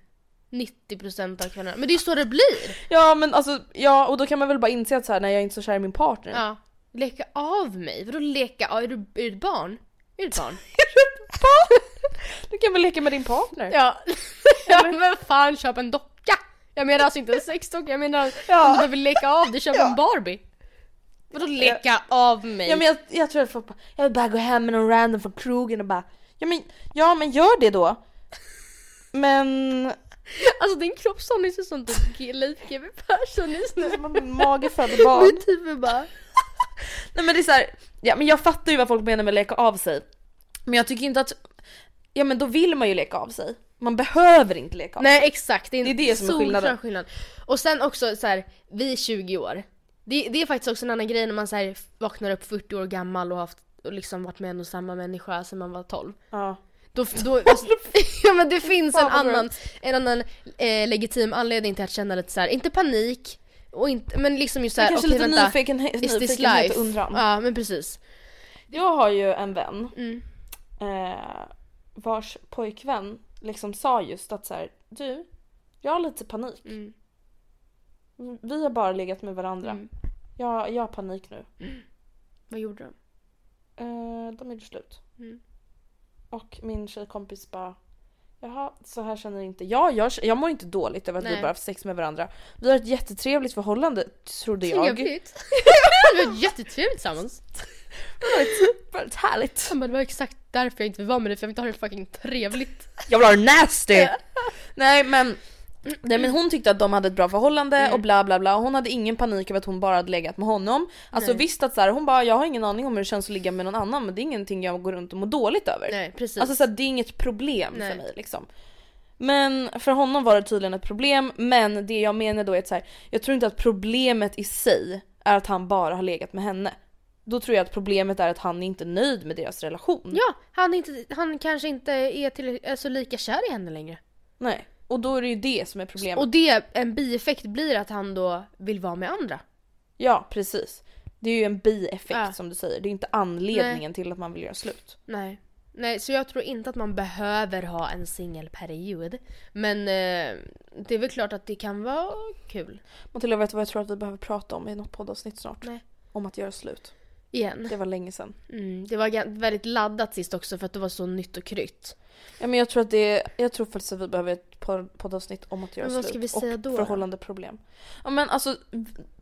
Speaker 1: 90% av kvällarna. Men det är ju så det blir!
Speaker 2: Ja men alltså, ja och då kan man väl bara inse att så här, nej jag är inte så kär i min partner.
Speaker 1: Ja. Leka av mig, vadå leka av? Är du, är du ett barn? Är du ett barn?
Speaker 2: Du kan väl leka med din partner?
Speaker 1: Ja, ja men fan köp en docka! Jag menar alltså inte en sexdocka, jag menar om du behöver leka av dig, köp en Barbie! Vadå leka av mig?
Speaker 2: Ja men jag, jag tror att folk bara, jag vill bara gå hem med någon random från krogen och bara ja men, ja men gör det då. Men
Speaker 1: Alltså din kroppshållning ser ut som typ G- Leif GW Persson just nu.
Speaker 2: som en mage föder barn.
Speaker 1: Min typ är bara...
Speaker 2: Nej men det är så här, ja men jag fattar ju vad folk menar med leka av sig. Men jag tycker inte att, ja men då vill man ju leka av sig. Man behöver inte leka av sig.
Speaker 1: Nej exakt, det är, en
Speaker 2: Det är det som är
Speaker 1: solklar
Speaker 2: skillnaden.
Speaker 1: skillnad. Och sen också så här, vi är 20 år. Det, det är faktiskt också en annan grej när man så här, vaknar upp 40 år gammal och haft och liksom varit med en och samma människa sedan man var 12.
Speaker 2: Ja.
Speaker 1: Då, då, ja men det finns en
Speaker 2: Fan, Alltså, vad
Speaker 1: annan, en annan eh, legitim anledning till att känna lite så här, inte panik, och inte, men liksom ju såhär
Speaker 2: Kanske
Speaker 1: okej
Speaker 2: lite
Speaker 1: vänta,
Speaker 2: nyfiken,
Speaker 1: is this
Speaker 2: nyfikenhet
Speaker 1: life?
Speaker 2: och undran.
Speaker 1: Ja men precis.
Speaker 2: Jag har ju en vän
Speaker 1: Mm.
Speaker 2: eh, vars pojkvän liksom sa just att så här, du, jag har lite panik.
Speaker 1: Mm.
Speaker 2: Vi har bara legat med varandra.
Speaker 1: Mm.
Speaker 2: Jag, jag har panik nu.
Speaker 1: Vad gjorde de?
Speaker 2: Eh, de gjorde slut.
Speaker 1: Mm.
Speaker 2: Och min tjejkompis bara Jaha, så här känner inte jag. Jag, jag mår inte dåligt över att vi
Speaker 1: Nej.
Speaker 2: bara haft sex med varandra. Vi har ett jättetrevligt förhållande trodde jag.
Speaker 1: Trevligt. det var jättetrevligt tillsammans.
Speaker 2: Väldigt härligt.
Speaker 1: Han bara, det var exakt därför jag inte vill vara med dig för jag vill inte ha det fucking trevligt.
Speaker 2: Jag vill ha det nasty! Nej men, nej men hon tyckte att de hade ett bra förhållande och bla bla bla. Hon hade ingen panik över att hon bara hade legat med honom. Alltså
Speaker 1: Nej.
Speaker 2: visst att så här, hon bara jag har ingen aning om hur det känns att ligga med någon annan men det är ingenting jag går runt och mår dåligt över.
Speaker 1: Nej precis.
Speaker 2: Alltså så här, det är inget problem
Speaker 1: Nej.
Speaker 2: för mig liksom. Men för honom var det tydligen ett problem, men det jag menar då är att så här, jag tror inte att problemet i sig är att han bara har legat med henne. Då tror jag att problemet är att han inte är nöjd med deras relation.
Speaker 1: ja, han, är inte, han kanske inte är, till, är så lika kär i henne längre.
Speaker 2: Nej. Och då är det ju det som är problemet.
Speaker 1: Och det, en bieffekt blir att han då vill vara med andra.
Speaker 2: Ja, precis. Det är ju en bieffekt
Speaker 1: Ja.
Speaker 2: som du säger. Det är inte anledningen till att man vill göra slut.
Speaker 1: Nej. Nej, så jag tror inte att man behöver ha en singelperiod. Men eh, det är väl klart att det kan vara kul.
Speaker 2: Matilda, vet du vad jag tror att vi behöver prata om i något poddavsnitt snart?
Speaker 1: Nej.
Speaker 2: Om att göra slut.
Speaker 1: Igen.
Speaker 2: Det var länge sedan.
Speaker 1: Mm, det var gan- väldigt laddat sist också för att det var så nytt och krytt.
Speaker 2: Ja, men jag, tror att det, jag tror faktiskt att vi behöver ett pod- poddavsnitt om att göra
Speaker 1: Men vad
Speaker 2: slut
Speaker 1: ska vi säga
Speaker 2: och
Speaker 1: då, då?
Speaker 2: förhållandeproblem. Ja, men alltså,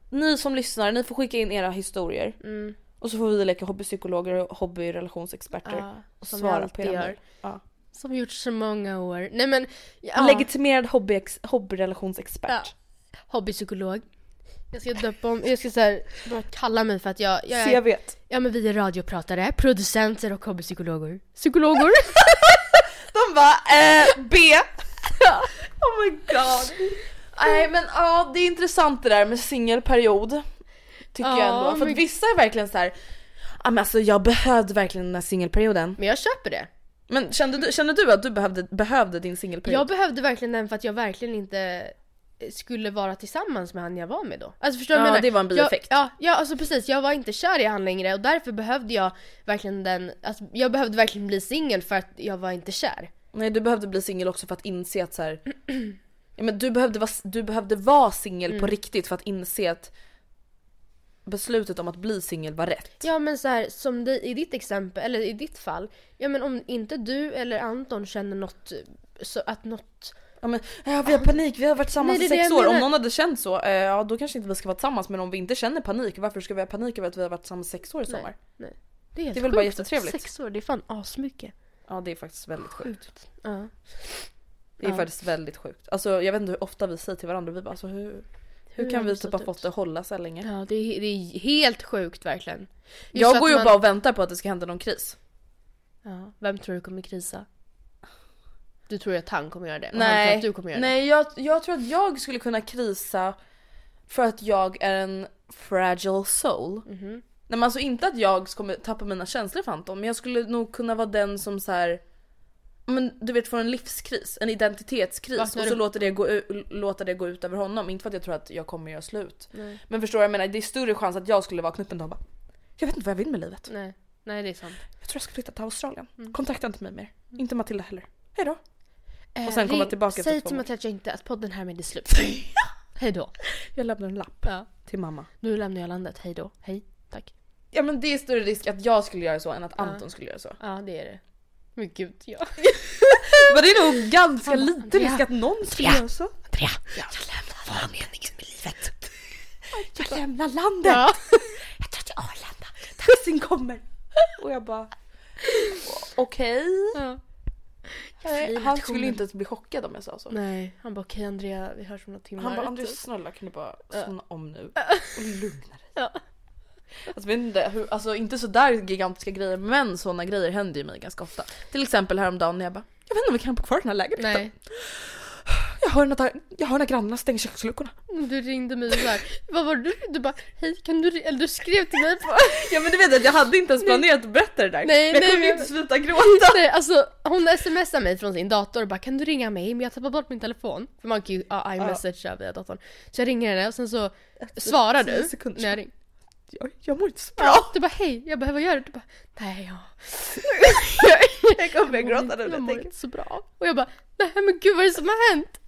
Speaker 2: ni som lyssnar, ni får skicka in era historier.
Speaker 1: Mm.
Speaker 2: Och så får vi leka hobbypsykologer och hobbyrelationsexperter.
Speaker 1: Ja,
Speaker 2: och
Speaker 1: som vi
Speaker 2: svara på
Speaker 1: alltid
Speaker 2: era
Speaker 1: gör.
Speaker 2: mejl. Ja.
Speaker 1: Som gjorts så många år. Nej men...
Speaker 2: En
Speaker 1: ja.
Speaker 2: legitimerad hobby, hobbyrelationsexpert.
Speaker 1: Ja. Hobbypsykolog. Jag ska döpa om, jag ska så här, bara kalla mig för att jag, jag är,
Speaker 2: CV. -t.
Speaker 1: ja men vi är radiopratare, producenter och hobbypsykologer. Psykologer!
Speaker 2: De bara eh, B. oh my god. Nej men ja det är intressant det där med singelperiod. Tycker
Speaker 1: Ja,
Speaker 2: jag ändå. För
Speaker 1: men-
Speaker 2: att vissa är verkligen så här. Ja men alltså jag behövde verkligen den här singelperioden.
Speaker 1: Men jag köper det.
Speaker 2: Men kände du, kände du att du behövde, behövde din singelperiod?
Speaker 1: Jag behövde verkligen den för att jag verkligen inte eh, skulle vara tillsammans med han jag var med då. Alltså förstår du vad
Speaker 2: Ja,
Speaker 1: jag menar?
Speaker 2: det var en bieffekt.
Speaker 1: Jag, ja, ja, alltså precis. Jag var inte kär i han längre och därför behövde jag verkligen den, alltså, jag behövde verkligen bli singel för att jag var inte kär.
Speaker 2: Nej du behövde bli singel också för att inse att så här. ja, men du behövde vara, du behövde vara singel på riktigt för att inse att beslutet om att bli singel var rätt.
Speaker 1: Ja men så här, som det, i ditt exempel, eller i ditt fall. Ja men om inte du eller Anton känner något, så att något...
Speaker 2: Ja, men, ja, vi har panik, vi har varit tillsammans
Speaker 1: Nej,
Speaker 2: i
Speaker 1: det är det
Speaker 2: sex
Speaker 1: jag
Speaker 2: år. Om
Speaker 1: menar.
Speaker 2: någon hade känt så, eh, ja då kanske inte vi ska vara tillsammans. Men om vi inte känner panik, varför ska vi ha panik över att vi har varit tillsammans i sex år i sommar?
Speaker 1: Nej, nej. Det är, helt
Speaker 2: Det är väl bara
Speaker 1: sjukt.
Speaker 2: jättetrevligt.
Speaker 1: Sex år, det är fan asmycket.
Speaker 2: Ja det är faktiskt väldigt sjukt.
Speaker 1: Ja.
Speaker 2: Det är
Speaker 1: Ja.
Speaker 2: faktiskt väldigt sjukt. Alltså jag vet inte hur ofta vi säger till varandra, vi bara alltså, hur, hur,
Speaker 1: Hur har
Speaker 2: kan vi
Speaker 1: vi
Speaker 2: typ
Speaker 1: stått
Speaker 2: ha
Speaker 1: ut?
Speaker 2: fått det att hålla så här länge?
Speaker 1: ja, det är, det är helt sjukt verkligen. Just
Speaker 2: jag
Speaker 1: att
Speaker 2: går ju
Speaker 1: man-
Speaker 2: bara och väntar på att det ska hända någon kris.
Speaker 1: Ja, vem tror du kommer krisa? Du tror ju att han kommer göra det? Och Han tror
Speaker 2: Nej,
Speaker 1: att du kommer göra
Speaker 2: nej jag, jag tror att jag skulle kunna krisa för att jag är en fragile soul.
Speaker 1: Mhm.
Speaker 2: Nej men alltså inte att jag kommer tappa mina känslor för Anton men jag skulle nog kunna vara den som så här. Men du vet får en livskris, en identitetskris
Speaker 1: Vaknar
Speaker 2: och så
Speaker 1: du-
Speaker 2: låter det, gå, u- låta det gå ut över honom. Inte för att jag tror att jag kommer göra slut.
Speaker 1: Nej.
Speaker 2: Men förstår du vad jag menar? Det är större chans att jag skulle vara knuppen då och bara Jag vet inte vad jag vill med livet.
Speaker 1: det? Nej. Nej, det är sant.
Speaker 2: Jag tror jag ska flytta till Australien.
Speaker 1: Mm.
Speaker 2: Kontakta inte mig mer. Inte Matilda heller. Hejdå. Och sen komma tillbaka efter
Speaker 1: Eh, Säg
Speaker 2: två
Speaker 1: till
Speaker 2: månader.
Speaker 1: Mattias inte att podden härmed är slut. Hej då.
Speaker 2: Jag lämnar en lapp till mamma.
Speaker 1: Nu lämnar jag landet. Hej då. Hej. Tack.
Speaker 2: Ja men det är större risk att jag skulle göra så än att Anton skulle göra så.
Speaker 1: Ja, det är det. Men gud, ja.
Speaker 2: Men det är nog ganska
Speaker 1: Han bara,
Speaker 2: lite risk
Speaker 1: Andrea,
Speaker 2: att någon skulle göra så.
Speaker 1: Andrea,
Speaker 2: jag lämnar Vad har meningen med livet? jag lämnar landet!
Speaker 1: Ja.
Speaker 2: Jag drar till Arlanda. Taxin kommer. Och jag bara... Okej.
Speaker 1: Ja.
Speaker 2: Nej,
Speaker 1: Fri
Speaker 2: Han
Speaker 1: nationen.
Speaker 2: skulle inte ens bli chockad om jag sa så.
Speaker 1: Nej, han bara okej Andrea, vi hörs om några timmar. Typ.
Speaker 2: Han bara Andreas snälla kan du bara somna om nu och lugna dig.
Speaker 1: Ja.
Speaker 2: Alltså, vet inte, hur, alltså inte sådär gigantiska grejer men sådana grejer händer ju mig ganska ofta. Till exempel häromdagen när jag bara jag vet inte om vi kan bo kvar i den här lägenheten.
Speaker 1: Nej,
Speaker 2: Jag hör när, jag hör när grannarna stänger köksluckorna.
Speaker 1: du ringde mig såhär, vad var du? Du bara hej kan du, ri-" eller du skrev till mig på...
Speaker 2: Ja men du vet att jag hade inte ens planerat att berätta det där.
Speaker 1: Nej,
Speaker 2: men jag
Speaker 1: nej,
Speaker 2: kommer ju
Speaker 1: men-
Speaker 2: inte sluta gråta.
Speaker 1: Nej, alltså hon smsar mig från sin dator och bara kan du ringa mig? Men jag tappar bort min telefon. För man kan ju ja, iMessagea via datorn. Så jag ringer henne och sen så svarar
Speaker 2: tio
Speaker 1: du
Speaker 2: sekunder
Speaker 1: när jag ringer.
Speaker 2: Jag, jag mår inte så bra.
Speaker 1: Du bara hej, jag bara vad gör du? Du bara nej jag
Speaker 2: Jag kommer börja gråta nu när
Speaker 1: jag
Speaker 2: jag
Speaker 1: mår
Speaker 2: tänker.
Speaker 1: inte så bra. Och jag bara nej men gud vad är det som har hänt?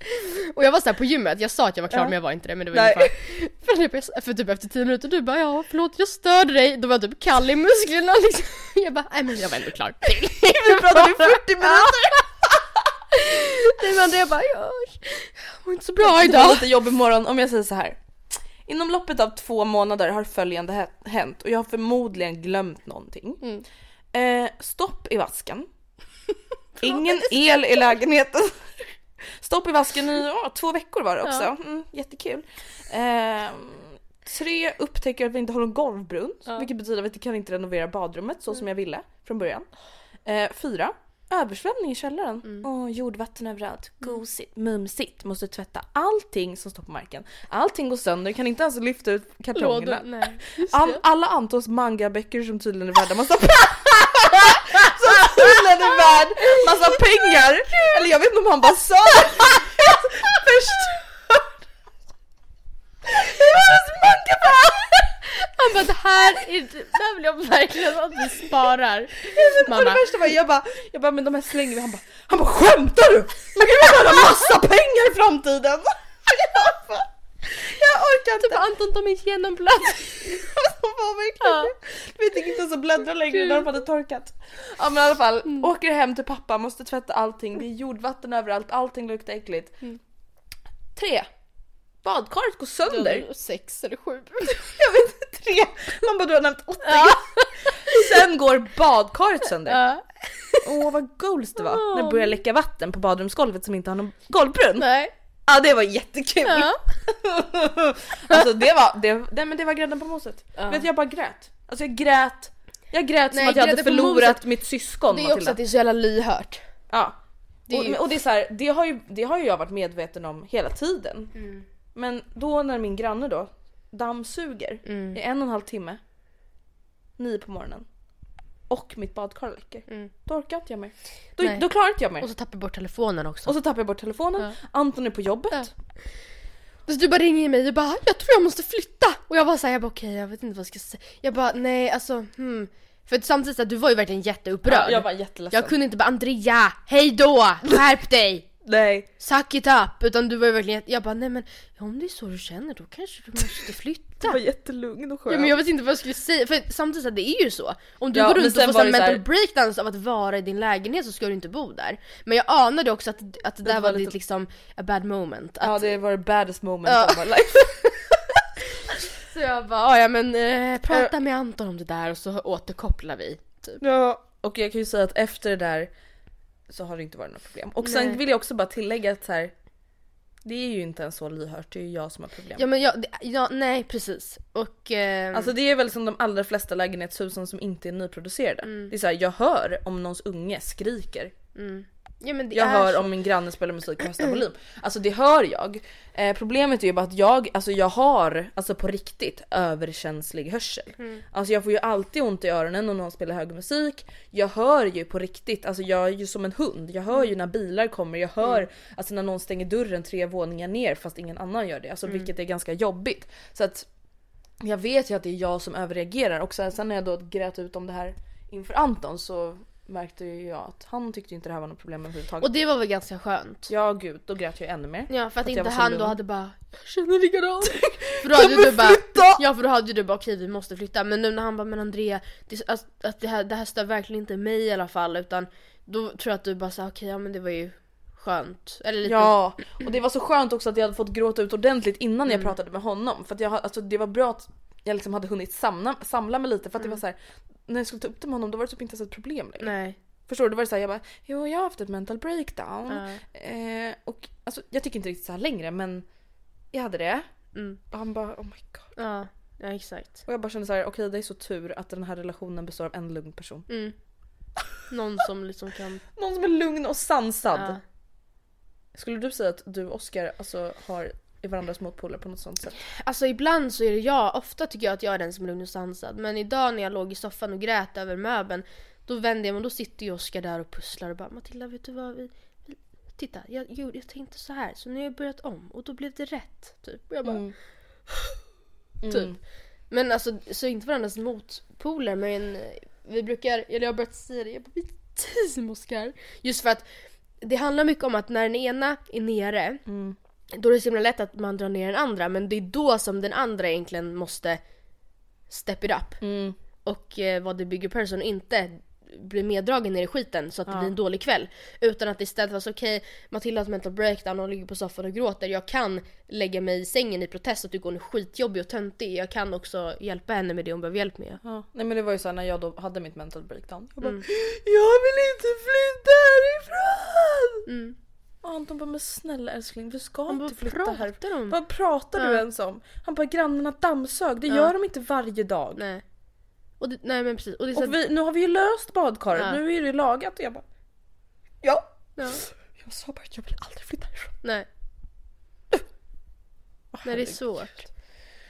Speaker 1: Och jag var såhär på gymmet, jag sa att jag var klar
Speaker 2: Ja.
Speaker 1: men jag var inte det men det var
Speaker 2: Nej.
Speaker 1: ungefär. För typ, jag- för typ efter tio minuter du bara ja förlåt jag störde dig. Då var jag typ kall i musklerna liksom. Jag bara nej men jag var ändå klar.
Speaker 2: Vi pratade i 40 minuter.
Speaker 1: Nej men jag bara jag mår inte så bra
Speaker 2: Det var
Speaker 1: idag.
Speaker 2: lite jobbig morgon om jag säger så här. Inom loppet av två månader har följande hä- hänt och jag har förmodligen glömt någonting.
Speaker 1: Mm.
Speaker 2: Eh, stopp i vasken. Ingen el i lägenheten. Stopp i vasken i ja, två veckor var det också. Mm, jättekul. Eh, tre upptäcker att vi inte har någon golvbrunn, vilket betyder att vi kan inte renovera badrummet så som jag ville från början. Eh, fyra. Översvämning i källaren. Åh, jordvatten överallt. Gosigt, mumsigt. Måste tvätta allting som står på marken. Allting går sönder, kan inte ens lyfta ut kartongerna.
Speaker 1: Lådor, nej.
Speaker 2: An- alla Antons mangaböcker som tydligen är värda massa Som tydligen är värd massa pengar! Eller jag vet inte om han bara sa det! Förstörd! Hans mangaböcker!
Speaker 1: Han bara det här är, det här vill jag verkligen att vi sparar.
Speaker 2: Och det
Speaker 1: Mamma,
Speaker 2: värsta var jag bara, jag bara men de här slänger vi, han bara, han bara skämtar du? Man kan väl ha massa pengar i framtiden? Jag bara, Jag orkar inte.
Speaker 1: typ Anton de är genomblöta.
Speaker 2: De var verkligen det. Du vet, det gick inte ens att bläddra längre när de hade torkat. Ja men i alla fall,
Speaker 1: Mm.
Speaker 2: åker hem till pappa, måste tvätta allting, det är jordvatten överallt, allting luktar äckligt.
Speaker 1: Mm.
Speaker 2: Tre. Badkaret går sönder.
Speaker 1: Mm. Typ Sex eller sju.
Speaker 2: Jag vet inte, tre. Man bara du har nämnt åtta. Sen går badkaret sönder.
Speaker 1: Ja.
Speaker 2: Åh vad goals det var när det började läcka vatten på badrumsgolvet som inte har någon golvbrunn.
Speaker 1: Nej.
Speaker 2: Ja det var jättekul.
Speaker 1: Ja.
Speaker 2: alltså det var, det, nej, men det var grädden på moset. Vet du, jag bara grät. Alltså jag grät, jag grät som
Speaker 1: Nej,
Speaker 2: att jag hade
Speaker 1: grädden på
Speaker 2: förlorat mitt syskon
Speaker 1: Det är ju också
Speaker 2: Matilda.
Speaker 1: att det är så jävla lyhört.
Speaker 2: Ja.
Speaker 1: det är ju-
Speaker 2: och, och det är så här, det har, ju, det har ju jag varit medveten om hela tiden.
Speaker 1: Mm.
Speaker 2: Men då när min granne då dammsuger
Speaker 1: Mm.
Speaker 2: i en och en halv timme, nio på morgonen och mitt badkar läcker. Då orkar inte jag mer. Då,
Speaker 1: Mm. Nej.
Speaker 2: då klarar inte jag mer.
Speaker 1: Och så tappar jag bort telefonen också.
Speaker 2: Och så tappar jag bort telefonen, Anton är på jobbet.
Speaker 1: Ja. Så Alltså, du bara ringer mig och bara jag tror jag måste flytta. Och jag bara såhär, jag bara okej jag vet inte vad jag ska säga. Jag bara nej alltså hmm. För att samtidigt så här, du var ju verkligen jätteupprörd.
Speaker 2: Jag alltså." var jätteledsen.
Speaker 1: jag kunde inte bara Andrea, hej då, skärp dig.
Speaker 2: Nej.
Speaker 1: Suck it up! Utan du var ju verkligen jag bara nej men ja, om det är så du känner då kanske du måste flytta.
Speaker 2: Jag var jättelugn och skön.
Speaker 1: ja, men jag vet inte vad jag skulle säga för samtidigt så här, det är ju så. Om du
Speaker 2: Ja,
Speaker 1: går
Speaker 2: men
Speaker 1: runt och
Speaker 2: sen
Speaker 1: får
Speaker 2: var
Speaker 1: sån
Speaker 2: det så
Speaker 1: mental
Speaker 2: här-
Speaker 1: breakdowns av att vara i din lägenhet så ska du inte bo där. Men jag anade också att, att det där var,
Speaker 2: var lite-
Speaker 1: ditt liksom a bad moment. Att,
Speaker 2: Ja det var det baddest moment
Speaker 1: Ja.
Speaker 2: of my life.
Speaker 1: Så jag bara "Ah, ja men eh, prata med Anton om det där och så återkopplar vi. Typ.
Speaker 2: Ja. Och jag kan ju säga att efter det där så har det inte varit något problem. Och sen
Speaker 1: Nej.
Speaker 2: vill jag också bara tillägga att så här, det är ju inte ens så lyhört, det är ju jag som har problem.
Speaker 1: Ja men jag, det- ja, nej precis. Och ehm,
Speaker 2: Alltså det är väl som de allra flesta Mm. lägenhetshusen som inte är nyproducerade. Det är såhär, jag hör om någons unge skriker.
Speaker 1: Ja, men det
Speaker 2: Jag
Speaker 1: är
Speaker 2: hör
Speaker 1: så.
Speaker 2: om min granne spelar musik på högsta volym. Alltså det hör jag. Eh, problemet är ju bara att jag, alltså jag har alltså på riktigt överkänslig hörsel.
Speaker 1: Mm.
Speaker 2: Alltså jag får ju alltid ont i öronen när någon spelar hög musik. Jag hör ju på riktigt, alltså jag är ju som en hund. Jag
Speaker 1: Mm.
Speaker 2: hör ju när bilar kommer, jag hör alltså när någon stänger dörren tre våningar ner fast ingen annan gör det. Alltså
Speaker 1: Mm.
Speaker 2: vilket är ganska jobbigt. Så att jag vet ju att det är jag som överreagerar och sen, sen när jag då grät ut om det här inför Anton så märkte ju jag att han tyckte inte det här var något problem överhuvudtaget.
Speaker 1: Och det var väl ganska skönt?
Speaker 2: Ja gud, då grät jag ännu mer.
Speaker 1: Ja för att,
Speaker 2: jag
Speaker 1: inte
Speaker 2: var så
Speaker 1: han
Speaker 2: lugn.
Speaker 1: då hade bara Jag känner likadant För då hade du bara Ja för då hade du bara okej vi måste flytta Men nu när han bara men Andrea det, alltså, att det, här, det här stör verkligen inte mig i alla fall utan Då tror jag att du bara sa okej ja men det var ju skönt Eller lite
Speaker 2: Ja, och det var så skönt också att jag hade fått gråta ut ordentligt innan
Speaker 1: Mm.
Speaker 2: jag pratade med honom. För att jag, alltså, det var bra att jag liksom hade hunnit samla, samla mig lite för
Speaker 1: Mm.
Speaker 2: att det var så här. När jag skulle ta upp det med honom då var det typ inte ens ett problem längre.
Speaker 1: Nej
Speaker 2: Förstår du? Då var det såhär jag bara jo jag har haft ett mental breakdown.
Speaker 1: ja.
Speaker 2: Eh, och alltså, jag tycker inte riktigt så här längre men jag hade det.
Speaker 1: Mm.
Speaker 2: Och han bara oh my god.
Speaker 1: ja Ja exakt
Speaker 2: Och jag bara kände såhär okej det är så tur att den här relationen består av en lugn person.
Speaker 1: mm. Någon som liksom kan
Speaker 2: Någon som är lugn och sansad.
Speaker 1: ja.
Speaker 2: Skulle du säga att du och Oskar alltså, har är varandras motpoler på något sånt sätt?
Speaker 1: Alltså ibland så är det jag, ofta tycker jag att jag är den som är lugn och sansad. Men idag när jag låg i soffan och grät över möbeln, då vände jag mig och då sitter ju Oskar där och pusslar och bara Matilda vet du vad, vi, vi, titta jag, gjorde- jag tänkte så här så nu har jag börjat om och då blev det rätt. Typ. Och jag bara,
Speaker 2: Typ.
Speaker 1: Men alltså så inte varandras motpoler men eh, vi brukar, eller jag har börjat säga det, jag bara, vi är team Oskar. Just för att det handlar mycket om att när den ena är nere då är det så himla lätt att man drar ner den andra men det är då som den andra egentligen måste step it up
Speaker 2: Mm.
Speaker 1: och eh, vara the bigger person och inte bli meddragen ner i skiten så att det blir en dålig kväll. Utan att det istället vara så okej, Matilda har ett mental breakdown och ligger på soffan och gråter. Jag kan lägga mig i sängen i protest att du går är skitjobbig och töntig. Jag kan också hjälpa henne med det hon behöver hjälp med.
Speaker 2: Ja. Nej men det var ju såhär när jag då hade mitt mental breakdown. Jag bara Jag vill inte flytta härifrån!
Speaker 1: Mm.
Speaker 2: Och Anton bara men snälla älskling vi ska
Speaker 1: bara,
Speaker 2: inte flytta
Speaker 1: "Pratar
Speaker 2: härifrån.
Speaker 1: de?"
Speaker 2: Vad pratar du ens om? Han bara grannarna dammsög, det gör de inte varje dag.
Speaker 1: Nej. Och det, nej men precis. Och det är så
Speaker 2: Och
Speaker 1: att,
Speaker 2: vi, nu har vi ju löst badkaret,
Speaker 1: Ja.
Speaker 2: nu är det lagat och jag bara Ja.
Speaker 1: Ja.
Speaker 2: Jag sa bara jag vill aldrig flytta härifrån.
Speaker 1: nej. nej det är svårt.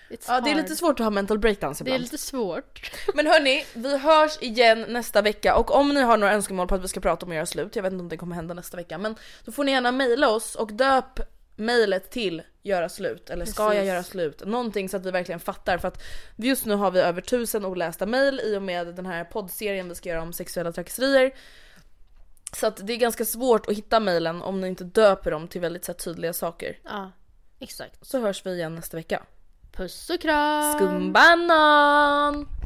Speaker 1: It's
Speaker 2: Ja det är
Speaker 1: hard.
Speaker 2: lite svårt att ha mental breakdowns
Speaker 1: Det
Speaker 2: ibland.
Speaker 1: är lite svårt.
Speaker 2: Men hörni, vi hörs igen nästa vecka och om ni har några önskemål på att vi ska prata om att göra slut, jag vet inte om det kommer hända nästa vecka, men då får ni gärna mejla oss och döp mejlet till göra slut eller ska jag
Speaker 1: Precis.
Speaker 2: göra slut? Någonting så att vi verkligen fattar för att just nu har vi över tusen olästa mejl i och med den här poddserien vi ska göra om sexuella trakasserier. Så att det är ganska svårt att hitta mejlen om ni inte döper dem till väldigt så här, tydliga saker.
Speaker 1: Ja, exakt.
Speaker 2: Så hörs vi igen nästa vecka.
Speaker 1: Puss och kram!
Speaker 2: Skumbanan!